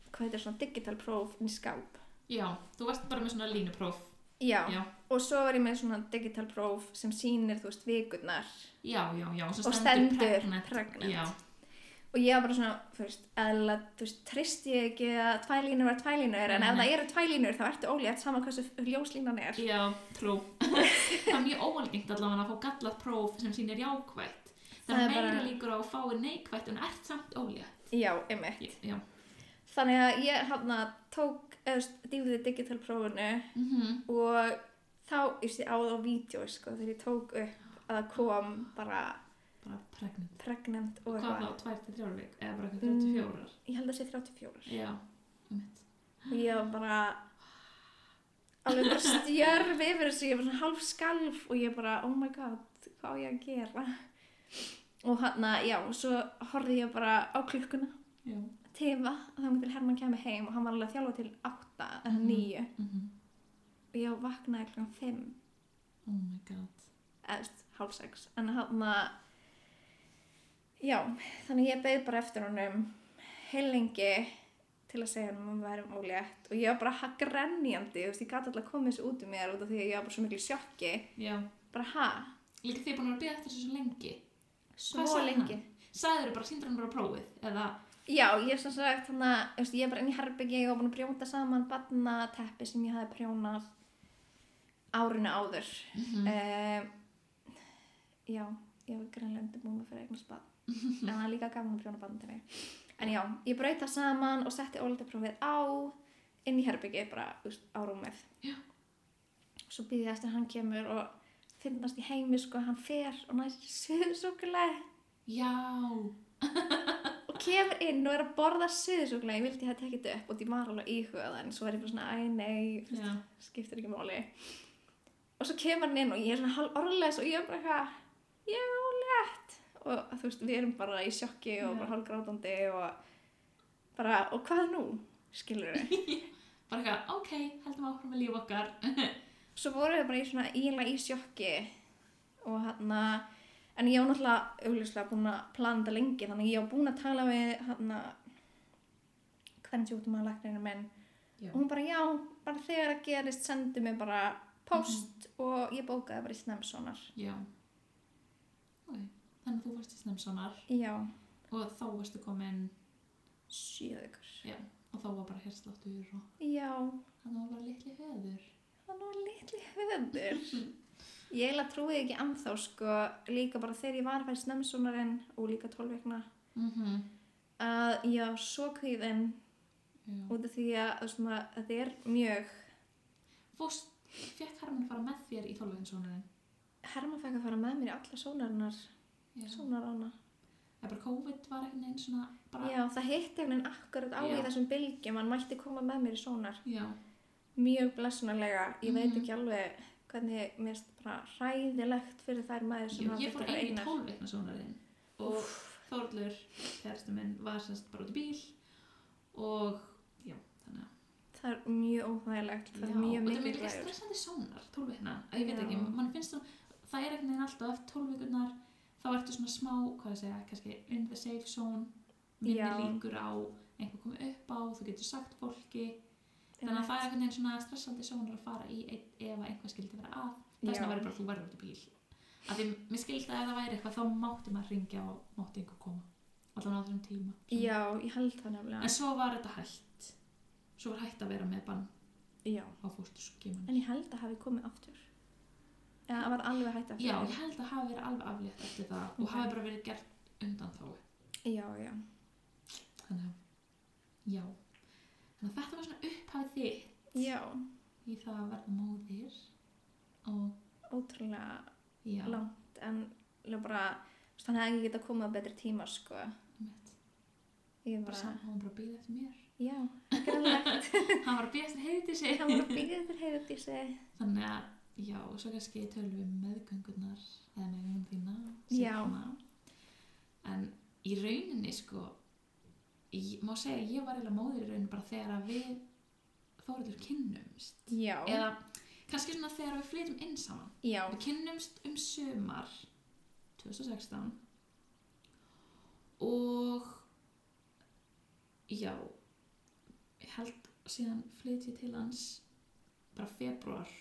Speaker 1: hvað heitir svona digital próf inn í skáp
Speaker 2: já, þú varst bara með svona línupróf
Speaker 1: já,
Speaker 2: já,
Speaker 1: og svo var ég með svona digital próf sem sýnir þú veist vikurnar
Speaker 2: já, já, já svo
Speaker 1: Og stendur
Speaker 2: pregnant.
Speaker 1: pregnant.
Speaker 2: já,
Speaker 1: og ég var bara svona, þú veist, eðla þú veist, treysti ég ekki að tvælínur var tvælínur en ef
Speaker 2: Mhm.
Speaker 1: það eru tvælínur þá ertu ólétt saman hversu ljóslínan er
Speaker 2: já, trú það er mjög óalgengt allavega að fá gallað próf sem sýnir jákvætt það,
Speaker 1: Það er
Speaker 2: er meira
Speaker 1: bara-
Speaker 2: líkur á að fáir neikvætt en ert samt ólétt
Speaker 1: já, einmitt
Speaker 2: Ég- já,
Speaker 1: þannig að ég hann tók eðst, dýfði digital prófunu
Speaker 2: mm
Speaker 1: og þá ég sé á það á vídeo sko, þegar ég tók upp að það kom bara
Speaker 2: bara pregnant
Speaker 1: pregnant og
Speaker 2: hvað
Speaker 1: eitthvað
Speaker 2: þá, 2-3 vik eða bara eitthvað
Speaker 1: Mm.
Speaker 2: 34
Speaker 1: ég held að sé 34
Speaker 2: já, mitt
Speaker 1: og ég var bara alveg bara stjörf yfir þessu ég var svona hálf skalf og ég bara oh my god, hvað á ég að gera og hann að, já, svo horfði ég bara á klukkuna
Speaker 2: já,
Speaker 1: tefa, þá til Herman kemur heim og hann var alveg að þjálfa til 8 eða
Speaker 2: Mhm.
Speaker 1: 9
Speaker 2: mm
Speaker 1: og ég vaknaði klokkan 5
Speaker 2: oh my god
Speaker 1: eðst, hálf 6 en hann að já, þannig ég beði bara eftir honum heilengi til að segja hann að vera ólétt og ég var bara grenjandi, þú veist, ég gæti alltaf komið þessu út um mér út af því að ég var bara svo miklu í sjokki
Speaker 2: já,
Speaker 1: bara ha,
Speaker 2: líka því búin að bíða eftir þessu svo lengi
Speaker 1: svo
Speaker 2: sagði hann?
Speaker 1: lengi
Speaker 2: sagður bara síndur hann bara prófið eða,
Speaker 1: já, ég sem sagt þannig að, þú veist, ég er bara inn í herbyggi og búin að brjóta saman barnateppi sem ég hafi prjónað árinu áður
Speaker 2: mm
Speaker 1: um, já, ég var greinlega undirbúin með fyrir eignast bad en það er líka gaman að prjóna bandinni en já, ég braut það saman og setti ólítaprófið á inn í herbyggi bara úst, á rúmið
Speaker 2: Já.
Speaker 1: svo býði ég eftir að hann kemur og finnast í heimi sko hann fer og næst suðsúkulega
Speaker 2: já
Speaker 1: og kemur inn og er að borða suðsúkulega ég vildi að tekja þetta upp og því var alveg að íhuga það en svo er ég bara svona, æ nei, þú veist,
Speaker 2: já,
Speaker 1: skiptir ekki máli og svo kemur hann inn og ég er svona hálf orðleis og ég er bara eitthvað ég er ólétt og þú veist, við erum bara í sjokki og
Speaker 2: Já.
Speaker 1: bara hálf grátandi og bara, og hvað nú? skilur við
Speaker 2: bara eitthvað, ok, heldum áfram með líf okkar
Speaker 1: svo vorum við bara í svona íla í sjokki og hann en ég var náttúrulega augljóslega búin að plana þetta lengi þannig að ég var búin að tala við hann að hvernig sjúktum um að læknirinn minn
Speaker 2: já,
Speaker 1: og hún bara já, bara þegar það gerist sendi mig bara post og ég bókaði bara í snemsonar
Speaker 2: já. Okay. þannig að þú varst í snemsonar
Speaker 1: já,
Speaker 2: og þá varstu komin
Speaker 1: sjö ykkur
Speaker 2: og þá var bara hérsláttur og
Speaker 1: já,
Speaker 2: þannig var bara litli höður
Speaker 1: það er nú litli höfður ég eiginlega trúið ekki anþá sko líka bara þegar ég var að færi snemsunarinn og líka 12 vikna
Speaker 2: mm
Speaker 1: að ég var svo kvíðin
Speaker 2: Já.
Speaker 1: út af því að, þú veist, maður, að þetta er mjög
Speaker 2: Fórst, fekk Hermann að fara með þér í þólveinsónurinn?
Speaker 1: Herma fekk að fara með mér í alla sónarinnar sónaranna
Speaker 2: Það er bara COVID var einhvern veginn svona bara...
Speaker 1: Já, það hitti einhvern veginn akkurat á
Speaker 2: Já.
Speaker 1: í þessum bylgjum, hann mætti koma með mér í sónar
Speaker 2: Já.
Speaker 1: mjög blessunarlega, ég veit
Speaker 2: Mhm.
Speaker 1: ekki alveg hvernig mér finnst bara hræðilegt fyrir þær maður sem
Speaker 2: Jú,
Speaker 1: hafa
Speaker 2: ég
Speaker 1: þurft
Speaker 2: fór
Speaker 1: að vera
Speaker 2: einu í
Speaker 1: einar.
Speaker 2: tólveikna sónarinn og Þorlur, kærastu minn, var semst bara út í bíl og já, þannig að
Speaker 1: Það er mjög óþægilegt, það er mjög
Speaker 2: og það er
Speaker 1: mikið
Speaker 2: líka
Speaker 1: glæður.
Speaker 2: stressandi sónar, tólveikna, að ég veit
Speaker 1: Já.
Speaker 2: ekki, mann finnst svona, það er einhvern veginn alltaf eftir tólveikunar, þá ertu svona smá, hvað ég segja, kannski in the safe zone, minni
Speaker 1: Já.
Speaker 2: líkur á einhver komið upp á, þú getur sagt fólki, þannig að það er einhvern veginn svona stressandi sónar að fara í ein, ef að einhver skildi vera að þess
Speaker 1: Já.
Speaker 2: vegna verður bara þú verður út í bíl af því mér skildi að ef það væri eitthvað þá mátti maður ringja og mátti einhver koma allan á þessum tíma svona.
Speaker 1: Já, ég held það nefnilega.
Speaker 2: en svo var þetta hægt svo var hægt að vera með bann
Speaker 1: Já,
Speaker 2: á fósturskimun
Speaker 1: en ég held að hafi komið aftur. Eða það var alveg hægt aftur.
Speaker 2: já, ég held að hafi verið alveg aflétt eftir það
Speaker 1: Ok.
Speaker 2: og hafi bara verið gert undan þá
Speaker 1: Já, já.
Speaker 2: þannig að já þannig að þetta var svona upphafið þitt
Speaker 1: Já,
Speaker 2: í það að verða móðir og
Speaker 1: ótrúlega
Speaker 2: já,
Speaker 1: langt, en ég bara, þú veist, hann hefði ekki getað komið á betri tíma, sko.
Speaker 2: einmitt.
Speaker 1: Ég
Speaker 2: bara
Speaker 1: bara,
Speaker 2: saman, hún var bara að býða eftir mér
Speaker 1: já, grannlegt.
Speaker 2: hann var að býðast að heiti sig
Speaker 1: hann var að býða þetta heiðið í sig.
Speaker 2: þannig að já, svo kannski tölum við um meðgöngunar eða meðgöngun þína
Speaker 1: Já.
Speaker 2: seinna. en í rauninni sko ég, má segja að ég var eiginlega móðir í rauninni bara þegar að við Þóruldur kynnumst
Speaker 1: Já,
Speaker 2: eða kannski svona þegar við flytum inn saman
Speaker 1: já,
Speaker 2: við kynnumst um sumar 2016 og já ég held síðan flyt ég til hans bara februar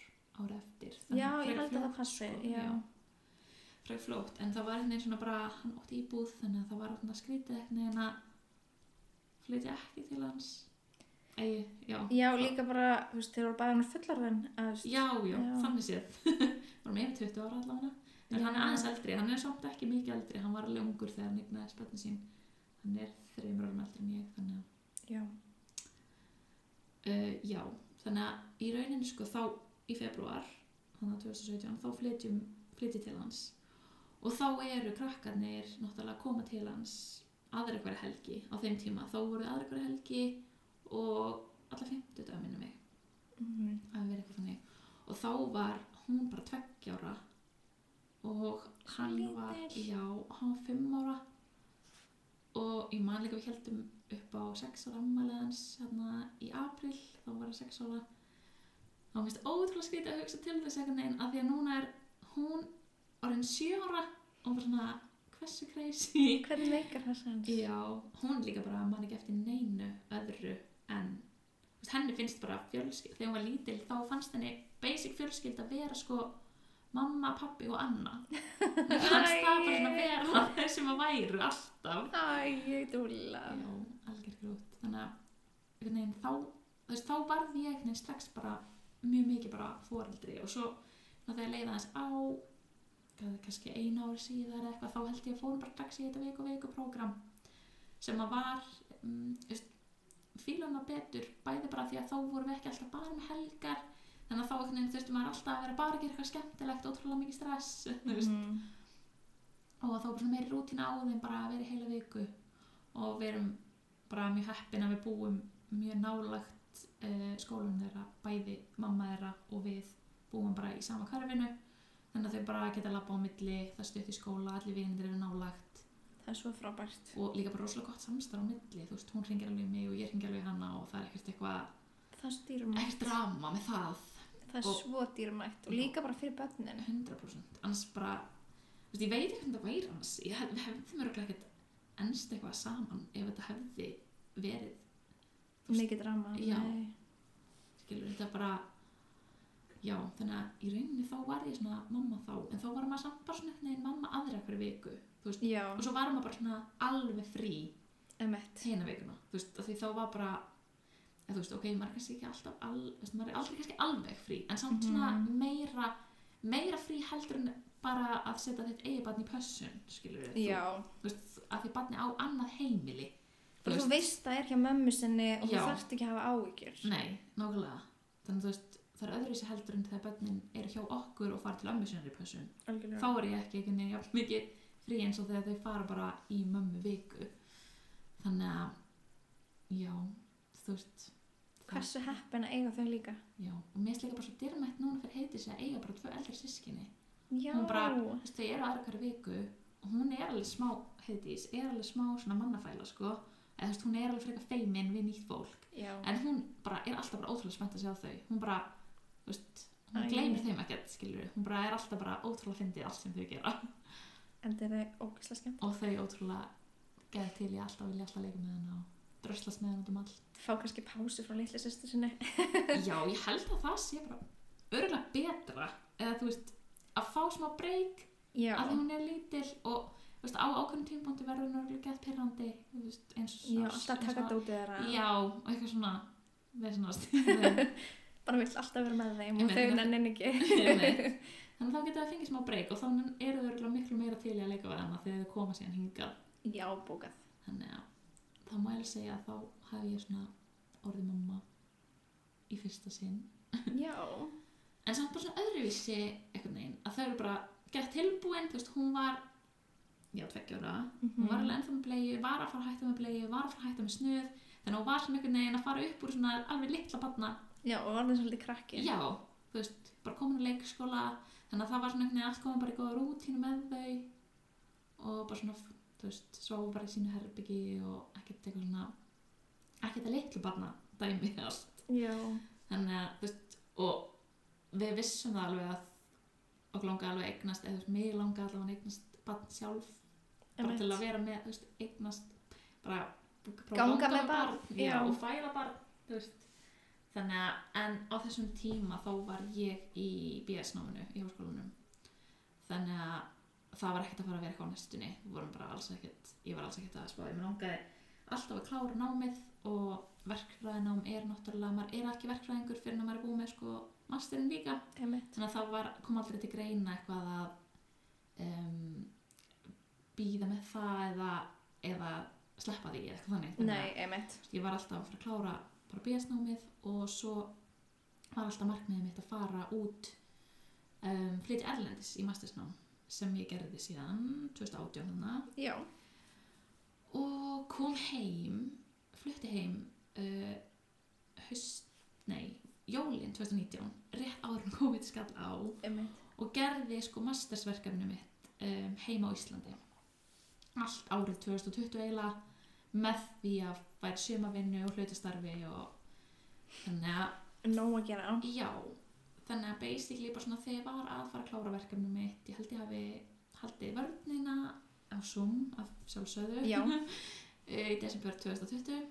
Speaker 2: ára eftir
Speaker 1: já, ég
Speaker 2: Þannig frekar
Speaker 1: held að það
Speaker 2: fljótt,
Speaker 1: passi,
Speaker 2: sko,
Speaker 1: já.
Speaker 2: frekar fljótt en það var einhvern veginn svona bara hann ótti íbúð þannig að það var svona skrítið einhvern veginn að flytja ekki til hans Æ, já,
Speaker 1: Já, líka bara, þú veist, þeir voru bara hann fullarðin, að, þú veist,
Speaker 2: já, já,
Speaker 1: Já.
Speaker 2: þannig séð varum ég 20 ára allavega en hann er
Speaker 1: Já.
Speaker 2: aðeins eldri, hann er samt ekki mikið eldri hann var alveg ungur þegar hann eignaði spötni sín hann er þreymur árum eldri en ég þannig að,
Speaker 1: já,
Speaker 2: uh, já, þannig að í rauninni sko þá í februar þannig að 2017, þá flytjum flytjum til hans og þá eru krakkarnir náttúrulega að koma til hans aðra hverja helgi á þeim tíma þá voru aðra hverja helgi og alla 50 dag minnum mig
Speaker 1: mhm,
Speaker 2: að vera eitthvað þannig og þá var hún bara tveggjára og hann
Speaker 1: Lítil.
Speaker 2: var já, hann var fimm ára og ég man líka við heldum upp á sex ára ammælið hans hérna í april, þá var hann sex ára þá finnst ótrúlega skrítið að hugsa til þess eitthvað neginn að því að núna er hún orðin sjö ára og bara svona, hversu crazy
Speaker 1: Hvernig meikar það sens?
Speaker 2: Já, hún líka bara man ekki eftir neinu öðru en þú veist, henni finnst bara fjölskylda, þegar hún var lítil þá fannst henni basic fjölskylda vera sko mamma, pappi og Anna Mér fannst það bara svona vera þeir sem að væru alltaf
Speaker 1: Æ, ég Mhm. dúla.
Speaker 2: Já, algjör grút þannig að einhvern veginn þá þú veist, þá varð ég einhvern veginn strax bara mjög mikið bara foreldri og svo ná, þegar leiða aðeins á hvað, kannski einu ári síðar eða eitthvað þá held ég að fórum bara strax í þetta viku viku prógram sem að var um, fílana betur bæði bara því að þá vorum við ekki alltaf bara um helgar þannig að þá einhvern veginn þurftum maður alltaf að vera bara að gera eitthvað skemmtilegt ótrúlega mikið stress þú veist
Speaker 1: Mhm.
Speaker 2: og þá er bara meiri rútina á þeim bara að vera í heila viku og við erum bara mjög heppin að við búum mjög nálagt uh, skólanum þeirra, bæði mamma þeirra og við búum bara í sama karfinu þannig að þau bara geta labba á milli það stutt í skóla, allir vinir eru nálagt
Speaker 1: Það er svo frábært.
Speaker 2: og líka bara rosalega gott samstarf á milli þú veist, hún ringir alveg í mig og ég ringi alveg í hana og það er ekkert eitthvað,
Speaker 1: Það er svo dýrmætt.
Speaker 2: ekkert drama með það
Speaker 1: Það er
Speaker 2: og-
Speaker 1: svo dýrmætt og líka bara fyrir börnin.
Speaker 2: 100% annars bara, þú veist, ég veit ekki hvernig það væri annars, ég hef, við hefðum örugglega ekkert ennst eitthvað saman ef þetta hefði verið, Þú veist-
Speaker 1: Mikið drama.
Speaker 2: Já.
Speaker 1: nei.
Speaker 2: skilur, þetta bara já, þannig að í rauninni þá var ég svona mamma þá, en þá var maður samt bara svona einhvern veginn mamma aðra hverju viku þú veist,
Speaker 1: Já,
Speaker 2: og svo var maður bara svona alveg frí
Speaker 1: emett.
Speaker 2: hina vikuna, þú veist, af því þá var bara eða þú veist, ok, maður er kannski ekki alltaf al, þú veist, maður er aldrei kannski alveg frí en samt svona
Speaker 1: Mhm.
Speaker 2: meira meira frí heldur en bara að setja þitt eigi barn í pössun, skilur við
Speaker 1: Já,
Speaker 2: þú, þú veist, að því barni á annað heimili
Speaker 1: og þú veist að er hjá mömmu sinni og þú
Speaker 2: Já.
Speaker 1: þarft ekki að hafa áhyggjur.
Speaker 2: nei, nákvæmlega þannig að þú veist, það er öðruvísi heldur en þegar barnin er hjá okkur og fara til ömmu sinni í pössun
Speaker 1: Algjörlega.
Speaker 2: þá er ég ekki ekki nefnir jafn mikið frí eins og þegar þau fara bara í mömmu viku þannig að já, þú veist það-
Speaker 1: Hversu heppin að eiga þau líka?
Speaker 2: já, og mér finnst líka bara svo dyrmætt núna fyrir heiti sig að eiga bara tvö eldri sískinni
Speaker 1: Já,
Speaker 2: Hún bara- Þú veist, þau eru aðra hverju viku og hún er alveg smá, heiðdís, er alveg smá svona mannafæla sko eða þú veist, hún er alveg frekar feimin við nýtt fólk
Speaker 1: já,
Speaker 2: en hún bara, er alltaf bara ótrúlega spennt að sjá þau hún bara, þú veist, hún
Speaker 1: Æ.
Speaker 2: gleymir þeim ekkert skilur hún bara er alltaf bara ótrúlega fyndið allt sem þau gera
Speaker 1: en það er ógæslega skemmt.
Speaker 2: og þau ótrúlega geða til í alltaf og vilja alltaf leika með hana og dröslast með hana út um allt
Speaker 1: Fá kannski pásu frá litli sýstu sinni.
Speaker 2: já, ég held að það sé bara örgulega betra eða þú veist, að fá smá breyk
Speaker 1: Já,
Speaker 2: að því hún er lítil og þú veist, á ákveðnum tímpóndi verður hún örgulega geða pirrandi þú veist, eins og
Speaker 1: já, alltaf taka
Speaker 2: eins og-
Speaker 1: dótið þeirra.
Speaker 2: já, og eitthvað svona vesenast Nei.
Speaker 1: Bara vill alltaf vera með þeim
Speaker 2: Ég
Speaker 1: og
Speaker 2: meina,
Speaker 1: þau
Speaker 2: það-
Speaker 1: nennin ekki.
Speaker 2: þannig að þá getur það fengið smá breyk og þá eru þau örgulega miklu meira til í að leika við hana þegar þau koma síðan hingað
Speaker 1: Já, bókað.
Speaker 2: þannig að þá má ég segja að þá hef ég svona orðið mamma í fyrsta sinn
Speaker 1: Já,
Speaker 2: en samt bara svona öðruvísi einhvern veginn að þau eru bara gett tilbúin þú veist, hún var já, tveggjóra, hún var
Speaker 1: Mhm.
Speaker 2: alveg ennþá með bleiðu var að fara að hætta með bleiðu, var að fara að hætta með snuð þannig að hún var svona einhvern veginn að fara upp úr svona alveg litla barna
Speaker 1: já, og orðin svolítið krakki.
Speaker 2: já, þú veist, bara komin í leikskóla þannig að það var svona einhvern veginn allt komin bara í góða rútínu með þau og bara svona, þú veist, sváðu bara í sínu herbyggi og ekkert eitthvað svona ekkert að litlu barna dæmi allt,
Speaker 1: Já,
Speaker 2: þannig að þú veist, og við vissum það alveg að okkur langaði alveg að eignast eða þú veist, mig langaði allavega að eignast barn sjálf, bara
Speaker 1: einmitt.
Speaker 2: til að vera með þú veist, eignast bara, bara
Speaker 1: Ganga með barn,
Speaker 2: já,
Speaker 1: já.
Speaker 2: og fæla barn þú veist þannig að en á þessum tíma þá var ég í BS-náminu í háskólanum þannig að það var ekkert að fara að vera eitthvað á næstunni við vorum bara alls ekkert ég var alls ekkert að spá ég mér langaði alltaf að klára námið og verkfræðinám er náttúrulega maður er ekki verkfræðingur fyrir en maður er búið með sko masterinn líka
Speaker 1: Einmitt.
Speaker 2: þannig að það var, kom aldrei til greina eitthvað að um, býða með það eða, eða sleppa því eða eitthvað þannig Þannig að,
Speaker 1: Nei, einmitt.
Speaker 2: þú veist, ég var alltaf að fara að klára bara BS-námið og svo var alltaf markmiðið mitt að fara út um, flytja erlendis í mastersnám sem ég gerði síðan 2018 hana
Speaker 1: Já,
Speaker 2: og kom heim flutti heim uh, haust, nei jólin 2019, rétt áður en COVID skall á
Speaker 1: einmitt.
Speaker 2: og gerði sko mastersverkefni mitt um, heima á Íslandi allt árið 2020 eiginlega með því að væri sumavinnu og hlutastarfi og þannig að
Speaker 1: Nóg að gera.
Speaker 2: já, þannig að basically bara svona þegar ég var að fara að klára verkefni mitt ég held ég hafi haldið vörnina á Zoom af sjálfsöðu
Speaker 1: Já.
Speaker 2: í desember 2020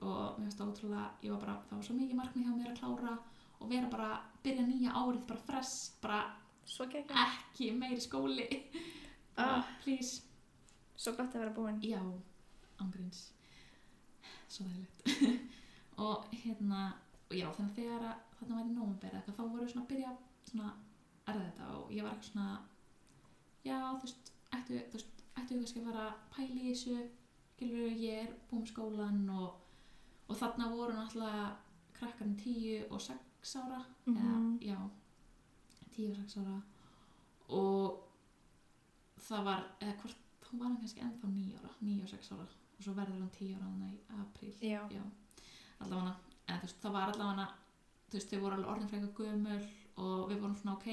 Speaker 2: og mér finnst það ótrúlega, ég var bara, það var svo mikið markmið hjá mér að klára og vera bara, byrja nýja árið bara fresh, bara
Speaker 1: Svo gekk.
Speaker 2: ekki meiri skóli
Speaker 1: Ah.
Speaker 2: bara, please
Speaker 1: Svo gott að vera búin.
Speaker 2: já, ángríns svo þægilegt og hérna, og já þannig að þegar að þarna væri nómumbera eitthvað þá voru svona að byrja svona að ræða þetta og ég var eitthvað svona já, þú veist, ættu, þú veist, ættu kannski að fara að pæla í þessu gilur ég er búin með skólan og, og þarna voru náttúrulega krakkarinn 10 og 6 ára
Speaker 1: Mhm.
Speaker 2: eða, já, 10 og 6 ára og það var, eða hvort þá var hann kannski ennþá 9 ára, 9 og 6 ára og svo verður hann 10 ára þannig í apríl
Speaker 1: Já.
Speaker 2: já, allavega en þú veist, það var allavega þú veist, þau voru alveg orðin frekar gömul og við vorum svona ok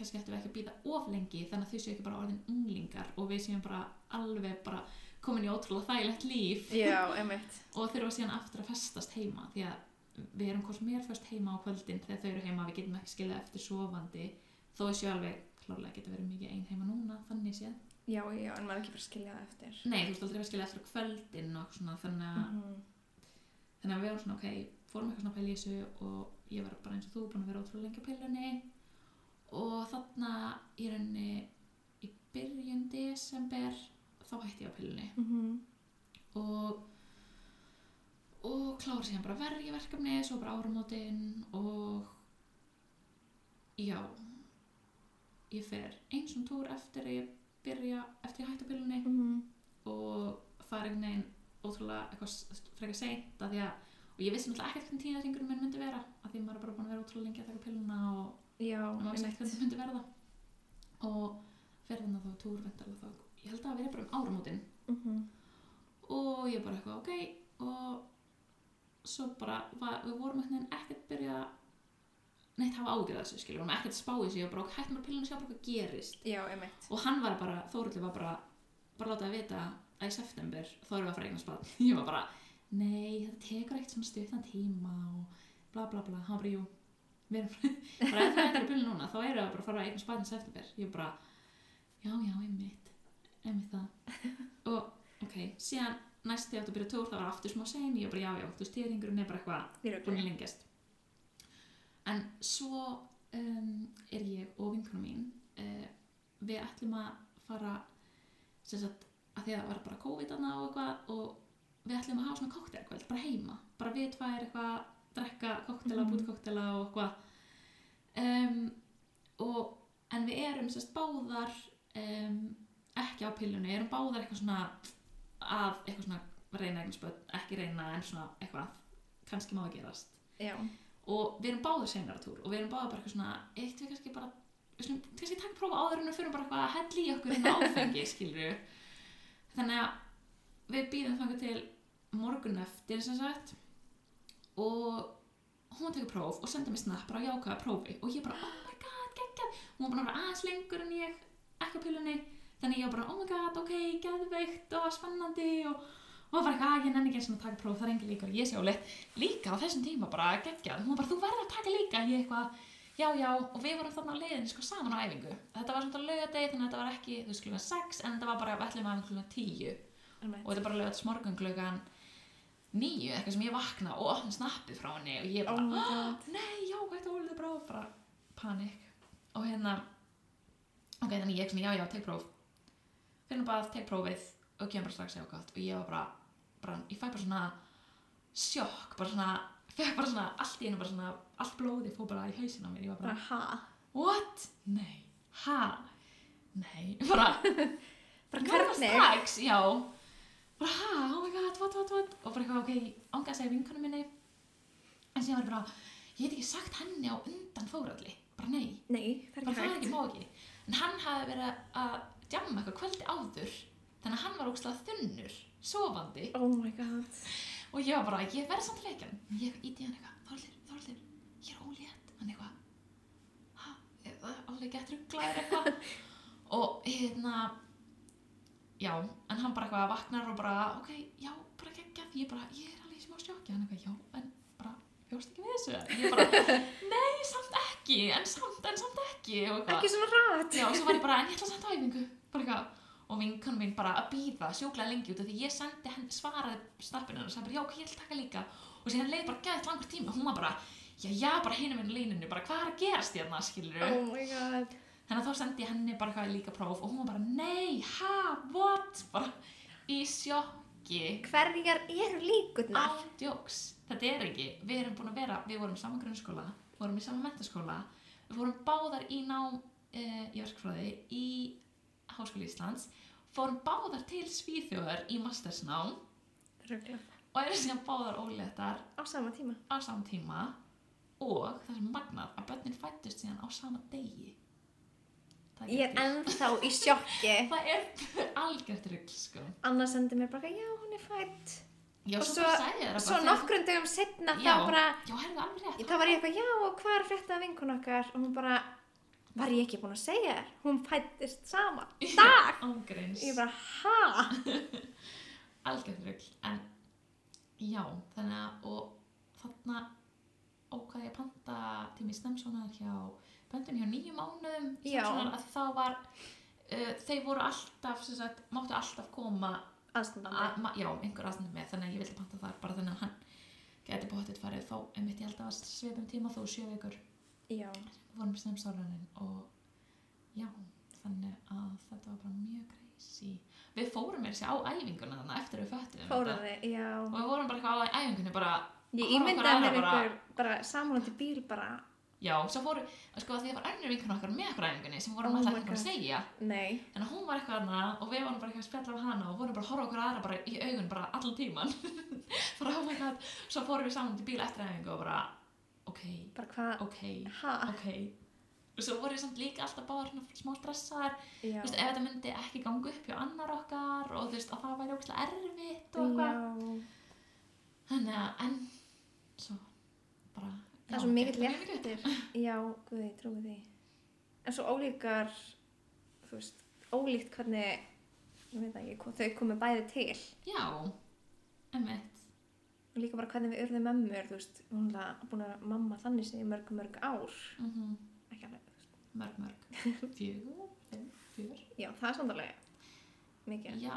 Speaker 2: kannski ættum við ekki að býða of lengi þannig að þau séu ekki bara orðin unglingar og við séum bara alveg bara komin í ótrúlega þægilegt líf
Speaker 1: Já, einmitt.
Speaker 2: og þurfa síðan aftur að festast heima því að við erum hvort mér fyrst heima á kvöldin þegar þau eru heima, við getum ekki skilja eftir sofandi þó þessu alveg klárlega getur verið mikið ein heima núna, þannig séð
Speaker 1: Já, já, en maður er ekki fyrir að skilja það eftir.
Speaker 2: Nei, þú veist aldrei að skilja eftir á kvöldin og svona, þannig, að,
Speaker 1: Mhm.
Speaker 2: þannig að við erum svona ok, fórum eitthvað svona að pæla í þessu og ég var bara eins og þú búin að vera ótrúlega lengi að pæla henni og þarna í rauninni í byrjun desember þá hætti ég á pælunni
Speaker 1: Mhm.
Speaker 2: og og klára síðan bara vergi verkefni svo bara áramótin og já ég fer eins og túr eftir að ég byrja eftir ég hætti á bílunni
Speaker 1: Mhm.
Speaker 2: og það er einhvern veginn ótrúlega eitthvað s- frekar seint að því að og ég vissi náttúrulega ekkert hvernig tíðarringurinn minn myndi vera að því maður er bara búin að vera ótrúlega lengi að taka pilluna og
Speaker 1: Já,
Speaker 2: og maður vissi ekkert
Speaker 1: einmitt.
Speaker 2: hvernig það myndi verða og fer þannig þá túr vendarlega þá ég held að það veri bara um áramótin
Speaker 1: Mhm.
Speaker 2: og ég bara eitthvað ok og svo bara var, við vorum einhvern veginn ekkert byrja neitt hafa ágjörð þessu skilur við vorum ekkert spáið þessu ég var bara ok, hættum bara pillinu að sjá bara hvað gerist
Speaker 1: Já, einmitt.
Speaker 2: og hann var bara, Þóruldur var bara bara látið að vita að í september þá erum við að fara eignast barn ég var bara, nei, þetta tekur eitt svona stuttan tíma og bla bla bla hann var bara, jú, við erum bara ef það endur í bílun núna, þá erum við bara að fara að eignast barn í september ég bara, já, já, einmitt einmitt það og ok, síðan næst þegar þetta byrja tór, það var aftur smá sein ég bara, já, já, þú stýringurinn er bara eitthvað
Speaker 1: Í
Speaker 2: búin
Speaker 1: rugli.
Speaker 2: að lengjast en svo um, er ég og vinkunum mín uh, við ætlum að fara sem sagt að því að það var bara COVID aðna og eitthvað og við ætlum að hafa svona koktel kvöld bara heima, bara við tvær eitthvað drekka koktela,
Speaker 1: Mhm.
Speaker 2: mm. bútkoktela og eitthvað um, og en við erum sérst báðar um, ekki á pillunni, erum báðar eitthvað svona að eitthvað svona reyna eitthvað spöld, ekki reyna en svona eitthvað kannski má það gerast
Speaker 1: Já,
Speaker 2: og við erum báðar senara túr og við erum báðar bara eitthvað svona eitt við kannski bara við slum, kannski takk prófa áður en við fyrir bara eitthvað að hella í okkur hérna áfengi skilur þannig að við býðum þangar til morgun eftir sem sagt og hún tekur próf og senda mér snap bara jákaða prófi og ég bara oh my god geggjað hún var búin að vera aðeins lengur en ég ekki á pilunni þannig ég var bara oh my god ok geðveikt og spennandi og og það var eitthvað að ég nenni ekki eins og að taka próf það er engin líkur ég sé á líka á þessum tíma bara geggjað hún var bara þú verður að taka líka ég eitthvað já já og við vorum þarna á leiðinni sko saman á æfingu þetta var svona lögadegi þannig að þetta var ekki þú veist klukkan 6 en þetta var bara við ætlum að klukkan 10 og
Speaker 1: einmitt.
Speaker 2: þetta er bara lögadis morgun klukkan 9 eitthvað sem ég vakna og opna snappið frá henni og ég
Speaker 1: Oh
Speaker 2: bara "Ah!"
Speaker 1: my god.
Speaker 2: nei já þetta var alveg bráð bara panik og hérna ok þannig ég svona já já tek próf finnum bara að tek prófið og kemur bara strax í ákvæmt og ég var bara, bara ég fæ bara svona sjokk bara svona fekk bara svona allt í einu bara svona allt blóði fór bara í hausin á mér ég var
Speaker 1: Bara
Speaker 2: bara
Speaker 1: ha.
Speaker 2: what? nei, ha? nei, bara
Speaker 1: Bara
Speaker 2: Ég var bara
Speaker 1: hvernig?
Speaker 2: strax, já bara ha, oh my god, what, what, what og bara eitthvað, ok, ánga að segja vinkonu minni en síðan var ég bara ég heit ekki sagt henni á undan fóralli bara nei,
Speaker 1: Nei, það er
Speaker 2: bara
Speaker 1: ekki
Speaker 2: það er
Speaker 1: hægt.
Speaker 2: ekki má ekki en hann hafði verið að djamma eitthvað kvöldi áður þannig að hann var ógstlega þunnur sofandi
Speaker 1: Oh my god.
Speaker 2: og ég var bara, ég verð samt leikjan ég íti hann eitthvað, Þorlur, Þorlur ég er ólétt, hann eitthvað ha, er það alveg gett rugglaður eitthvað og hérna já, en hann bara eitthvað vaknar og bara, ok, já, bara geggja því ég bara, ég er alveg í smá sjokki hann eitthvað, já, en bara, bjóst ekki við þessu ég bara, nei, samt ekki en samt, en samt ekki og eitthvað
Speaker 1: Ekki svona rætt.
Speaker 2: Já, og svo var ég bara, en ég ætla að senda á æfingu bara eitthvað, og vinkan mín bara að býða sjúklega lengi út af því ég sendi henn svaraði snappinu hennar og sagði bara, já, ok, ég ætla að taka líka og síðan leið bara gæðið langur tíma, hún var bara já, já, bara hinum minn líninu, bara hvað er að gerast hérna, skilur
Speaker 1: Oh my god.
Speaker 2: þannig að þá sendi ég henni bara eitthvað líka próf og hún var bara, nei, ha, what bara í sjokki
Speaker 1: Hverjar eru
Speaker 2: Ah.
Speaker 1: líkurnar?
Speaker 2: Ándjóks, þetta er ekki Við erum búin að vera, við vorum í sama grunnskóla vorum í sama mentaskóla við vorum báðar í nám uh, í verkfræði í Háskóla Íslands fórum báðar til Svíþjóðar í mastersnám
Speaker 1: Rugla.
Speaker 2: og erum síðan báðar óléttar
Speaker 1: Á sama tíma.
Speaker 2: á sama tíma og það sem magnað að börnin fættust síðan á sama degi Það
Speaker 1: Ég er
Speaker 2: getur-
Speaker 1: ennþá í sjokki.
Speaker 2: Það er algjört rugl sko
Speaker 1: Anna sendi mér bara, já, hún er fætt.
Speaker 2: Já,
Speaker 1: Og
Speaker 2: svo,
Speaker 1: svo-
Speaker 2: bara sagði ég þér að
Speaker 1: Svo
Speaker 2: bara þegar-
Speaker 1: nokkrum dögum setna
Speaker 2: Já.
Speaker 1: þá bara,
Speaker 2: Já, herðu alveg rétt
Speaker 1: þá var ég eitthvað, já, og hvað er frétta af vinkun okkar? Og hún bara, var ég ekki búin að segja þér? Hún fættist sama dag.
Speaker 2: Ángreins
Speaker 1: Ég bara, ha?
Speaker 2: algjörð rugl en já, þannig að og þarna ákvað ég að panta tími snemsónar hjá böndun hjá nýju mánuðum
Speaker 1: Já.
Speaker 2: Snemmsonar, að þá var uh, þeir voru alltaf, sem sagt, máttu alltaf koma
Speaker 1: Aðstundandi.
Speaker 2: að, ma- já, einhver aðstændum með þannig að ég vildi panta þar bara þannig að hann geti bóttið farið þá, einmitt ég held að það var svipum tíma þó sjö vikur
Speaker 1: Já.
Speaker 2: vorum snemsónarinn og já, þannig að þetta var bara mjög greið sí. Við fórum mér sér á æfinguna þannig eftir við föttum
Speaker 1: fóruð þið, já.
Speaker 2: Og við vorum bara eitthvað á æfingunni bara,
Speaker 1: Ég
Speaker 2: Horfa
Speaker 1: ímyndaði
Speaker 2: okkur aðra
Speaker 1: mér
Speaker 2: bara-
Speaker 1: einhver bara samlandi bíl bara,
Speaker 2: já, svo fórum, sko því að var önnur vinkun okkar með okkur á æfingunni sem
Speaker 1: Oh
Speaker 2: vorum oh alltaf
Speaker 1: my
Speaker 2: eitthvað að
Speaker 1: God.
Speaker 2: segja.
Speaker 1: nei,
Speaker 2: En hún var eitthvað annað og við vorum bara eitthvað að spjalla af hana og vorum bara að horfa okkur aðra bara í augun bara allan tíman. bara oh my god, svo fórum við saman til bíl eftir æfingu og bara, ok,
Speaker 1: bara hvað,
Speaker 2: ok,
Speaker 1: ha,
Speaker 2: ok. Og svo vorum við samt líka alltaf báðar svona smá stressaðar
Speaker 1: já,
Speaker 2: Þú veist, ef þetta myndi ekki ganga upp hjá annar okkar og þú veist, að það væri ógæslega erfitt og
Speaker 1: já,
Speaker 2: eitthvað. Þannig að, en, svo, bara.
Speaker 1: það er
Speaker 2: já,
Speaker 1: svo mikill
Speaker 2: gekk bara mjög
Speaker 1: léttir, já, guði, ég trúi því, en svo ólíkar, þú veist, ólíkt hvernig, ég veit ekki, hvað þau komu bæði til,
Speaker 2: vel. Já, emmitt.
Speaker 1: og líka bara hvernig við urðum mömmur, þú veist, hún er búin að vera mamma þannig sem í mörg, mörg ár,
Speaker 2: Mm
Speaker 1: ekki alveg, þú veist,
Speaker 2: Mörg, mörg. Fjögur, fimm, fjör.
Speaker 1: já, það er samt alveg mikið,
Speaker 2: Já,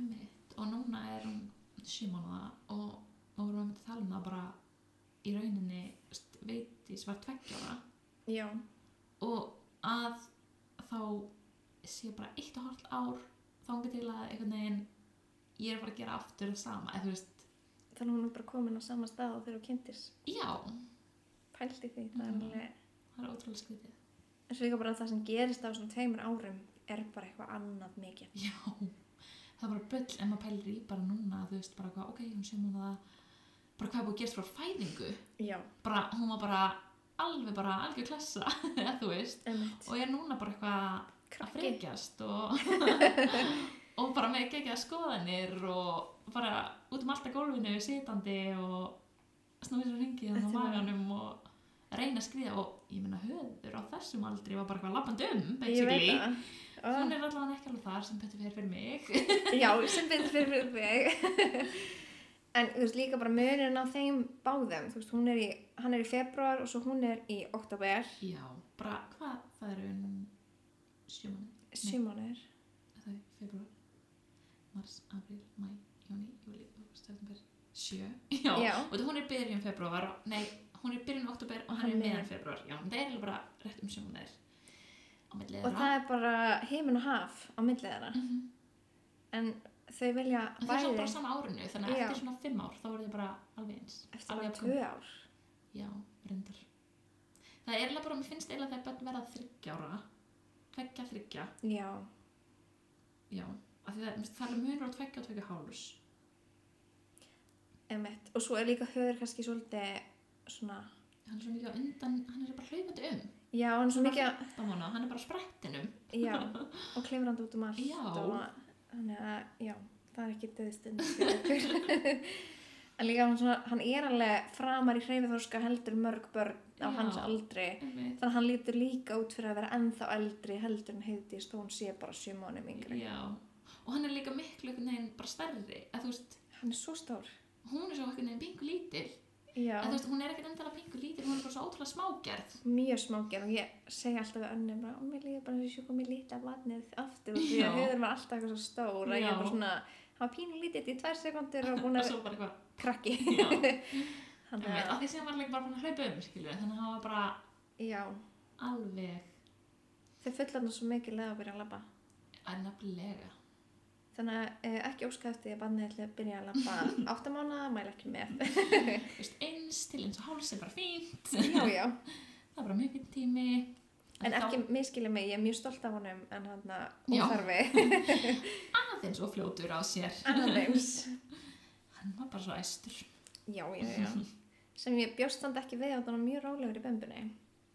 Speaker 2: emmitt. Og núna er hún sjö mánuða og og við vorum að mynda að tala um það bara í rauninni, þú veist, veitís var tveggjóra
Speaker 1: já,
Speaker 2: og að þá sé bara eitt og hálft ár þangar til að einhvern veginn ég er bara að gera aftur það sama eða þú veist,
Speaker 1: þannig hún er bara komin á sama stað og þegar hún kynntis,
Speaker 2: já, það
Speaker 1: pælti því, það er
Speaker 2: Mhm.
Speaker 1: alveg,
Speaker 2: er ótrúlega skrítið
Speaker 1: En svo líka bara það sem gerist á svona tveimur árum er bara eitthvað annað mikið.
Speaker 2: já, það er bara bull en maður pælir í bara núna, þú veist, bara hvað ok, hún sé múna það, bara hvað er búið að gerast frá fæðingu,
Speaker 1: Já,
Speaker 2: bara, hún var bara alveg bara algjör klessa eða þú veist,
Speaker 1: emitt.
Speaker 2: og er núna bara eitthvað að
Speaker 1: Krakki.
Speaker 2: frekjast og og bara með gegja skoðanir og bara út um alltaf gólfinu sitandi og snúið svo ringið þannig á
Speaker 1: Þetta er bara-
Speaker 2: maganum og reyna að skriða og ég meina höður á þessum aldri var bara eitthvað lappandi um
Speaker 1: Ég veit
Speaker 2: basically
Speaker 1: það. Ah.
Speaker 2: hún
Speaker 1: Ó,
Speaker 2: er allavega ekki alveg þar sem betur fyrir fyrir mig
Speaker 1: Já, sem betur fyrir þig. en þú veist líka bara munirinn á þeim báðum. Þú veist, hún er í, hann er í februar og svo hún er í oktober,
Speaker 2: já, bara hvað það eru um sjö mánuði,
Speaker 1: sjumanir.
Speaker 2: það er februar mars, april, mæ, jóni, júli september, sjö já,
Speaker 1: Já.
Speaker 2: og þetta hún er í byrjun februar nei, hún er í byrjun oktober og hann er meðan februar já, en það er eiginlega bara rétt um sjö mánuðir á milli
Speaker 1: Og
Speaker 2: þeirra
Speaker 1: það er bara heimin og haf á millið þeirra.
Speaker 2: Mhm.
Speaker 1: En þau vilja
Speaker 2: en það er svo
Speaker 1: bæði
Speaker 2: bara á sama árinu þannig að
Speaker 1: Já.
Speaker 2: eftir svona fimm ár þá voru þið bara alveg eins
Speaker 1: eftir
Speaker 2: alveg
Speaker 1: bara
Speaker 2: jafn
Speaker 1: tvö ár.
Speaker 2: Já, reyndar. Það er eiginlega bara, mér finnst eiginlega þegar börn verða þryggjára, tveggja, þryggja,
Speaker 1: Já,
Speaker 2: já. Af því það, mér finnst það er munur á tveggja og tveggja hálus.
Speaker 1: emitt. Og svo er líka höfur kannski svolítið svona,
Speaker 2: Hann er svo mikið á undan, hann er bara hlaupandi um.
Speaker 1: já, hann er svo
Speaker 2: Svona
Speaker 1: mikið að
Speaker 2: Það mánu, hann er bara á sprettinum.
Speaker 1: Já, og klifrandi út um allt
Speaker 2: Já.
Speaker 1: og þannig að, já, það er ekki döðstund fyrir okkur en líka hann, svona, hann er alveg framar í hreyfiþorska heldur mörg börn á
Speaker 2: Já.
Speaker 1: hans aldri
Speaker 2: Einmitt.
Speaker 1: þannig að hann lítur líka út fyrir að vera ennþá eldri heldur en heiðist þó hún sé bara sjö mánum yngri
Speaker 2: Já. Og hann er líka miklu einhvern veginn bara stærri. Að þú veist,
Speaker 1: hann er svo stór
Speaker 2: hún er svo einhvern veginn pingu lítil.
Speaker 1: já,
Speaker 2: Að þú veist, hún er ekkert endala pingu lítil, hún er bara svo ótrúlega smágerð.
Speaker 1: mjög smákjör og ég segi alltaf við önnum bara, og mér líður bara eins og ég komið lítið af vatnið aftur og því
Speaker 2: Já.
Speaker 1: að höður var alltaf eitthvað svo stór að ég
Speaker 2: Já.
Speaker 1: er bara svona, hann var pínu lítið í tvær sekundur og búin
Speaker 2: Og
Speaker 1: að
Speaker 2: svo bara eitthvað,
Speaker 1: krakki
Speaker 2: já.
Speaker 1: Þannig
Speaker 2: Einmitt.
Speaker 1: að,
Speaker 2: Af því sem var líka bara fann að hlaupa um, skilju. Þannig að hann var bara
Speaker 1: já,
Speaker 2: alveg,
Speaker 1: þau fullarna svo mikið leða að byrja að labba
Speaker 2: að nefnilega.
Speaker 1: þannig að eh, ekki óska eftir því að barnið ætli að byrja að labba áttamána, mæla ekki með
Speaker 2: Þú veist, eins til eins og háls er bara fínt
Speaker 1: já, já,
Speaker 2: það er bara mjög fínt tími
Speaker 1: en
Speaker 2: þá
Speaker 1: ekki miskilja mig ég er mjög stolt af honum en hann að
Speaker 2: Já.
Speaker 1: óþarfi
Speaker 2: aðeins og fljótur á sér
Speaker 1: aðeins
Speaker 2: hann var bara svo æstur
Speaker 1: já, já, já sem ég bjóst hann ekki við og þannig mjög rálegur í bömbunni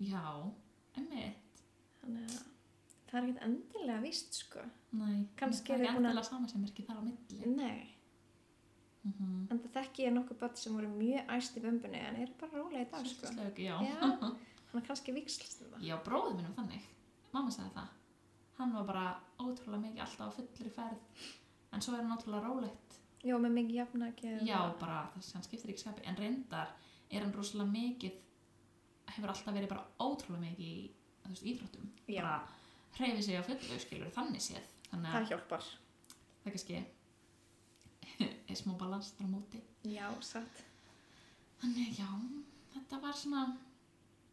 Speaker 2: já, emmitt
Speaker 1: þannig að það er ekkert endilega víst sko
Speaker 2: Nei,
Speaker 1: Kannski er
Speaker 2: það er
Speaker 1: þið
Speaker 2: ekki
Speaker 1: búin að-
Speaker 2: alltaf sama sem er ekki þar á milli
Speaker 1: nei,
Speaker 2: mm -hmm.
Speaker 1: en það þekki ég nokkuð börn sem voru mjög æst í bömbunni en eru bara rálega í dag sko
Speaker 2: slög, já.
Speaker 1: já, hann er kannski vikslist um það
Speaker 2: já, bróðum minnum þannig mamma sagði það hann var bara ótrúlega mikið alltaf á fullri ferð en svo er hann ótrúlega rólegt
Speaker 1: Já, með mikið jafnaki
Speaker 2: já, bara þess að hann skiptir ekki skapi en reyndar er hann rosalega mikið hefur alltaf verið bara ótrúlega mikið í þú veist, íþróttum
Speaker 1: Já.
Speaker 2: bara hreyfi sig á fullu skilur þannig séð þannig
Speaker 1: það
Speaker 2: að
Speaker 1: hjálpar
Speaker 2: það kannski er smá balans þar á móti
Speaker 1: Já, satt
Speaker 2: þannig já, þetta var svona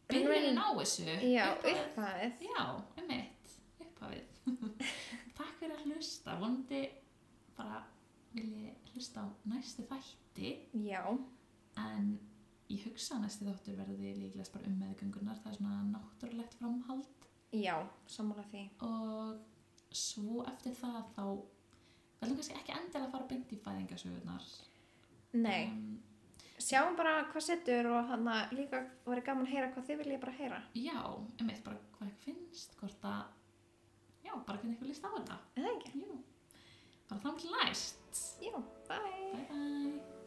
Speaker 1: En
Speaker 2: byrjunin á þessu
Speaker 1: Já,
Speaker 2: upphafið.
Speaker 1: upphæðið
Speaker 2: já, um eitt upphafið takk fyrir að hlusta vonandi bara vilji hlusta á næstu þætti
Speaker 1: Já,
Speaker 2: en ég hugsa að næsti þáttur verði líklegast bara um meðgöngunar það er svona náttúrulegt framhald
Speaker 1: já, sammála því.
Speaker 2: og svo eftir það þá verðum kannski ekki endilega að fara beint í fæðingasögunar
Speaker 1: Nei,
Speaker 2: um,
Speaker 1: sjáum bara hvað setur og hann að líka væri gaman að heyra hvað þið viljið bara heyra.
Speaker 2: já, um eitt bara hvað ekki finnst hvort að, já, bara hvernig ykkur líst á þetta
Speaker 1: Er það ekki?
Speaker 2: já, bara þá til næst
Speaker 1: Já, bye!
Speaker 2: bye bye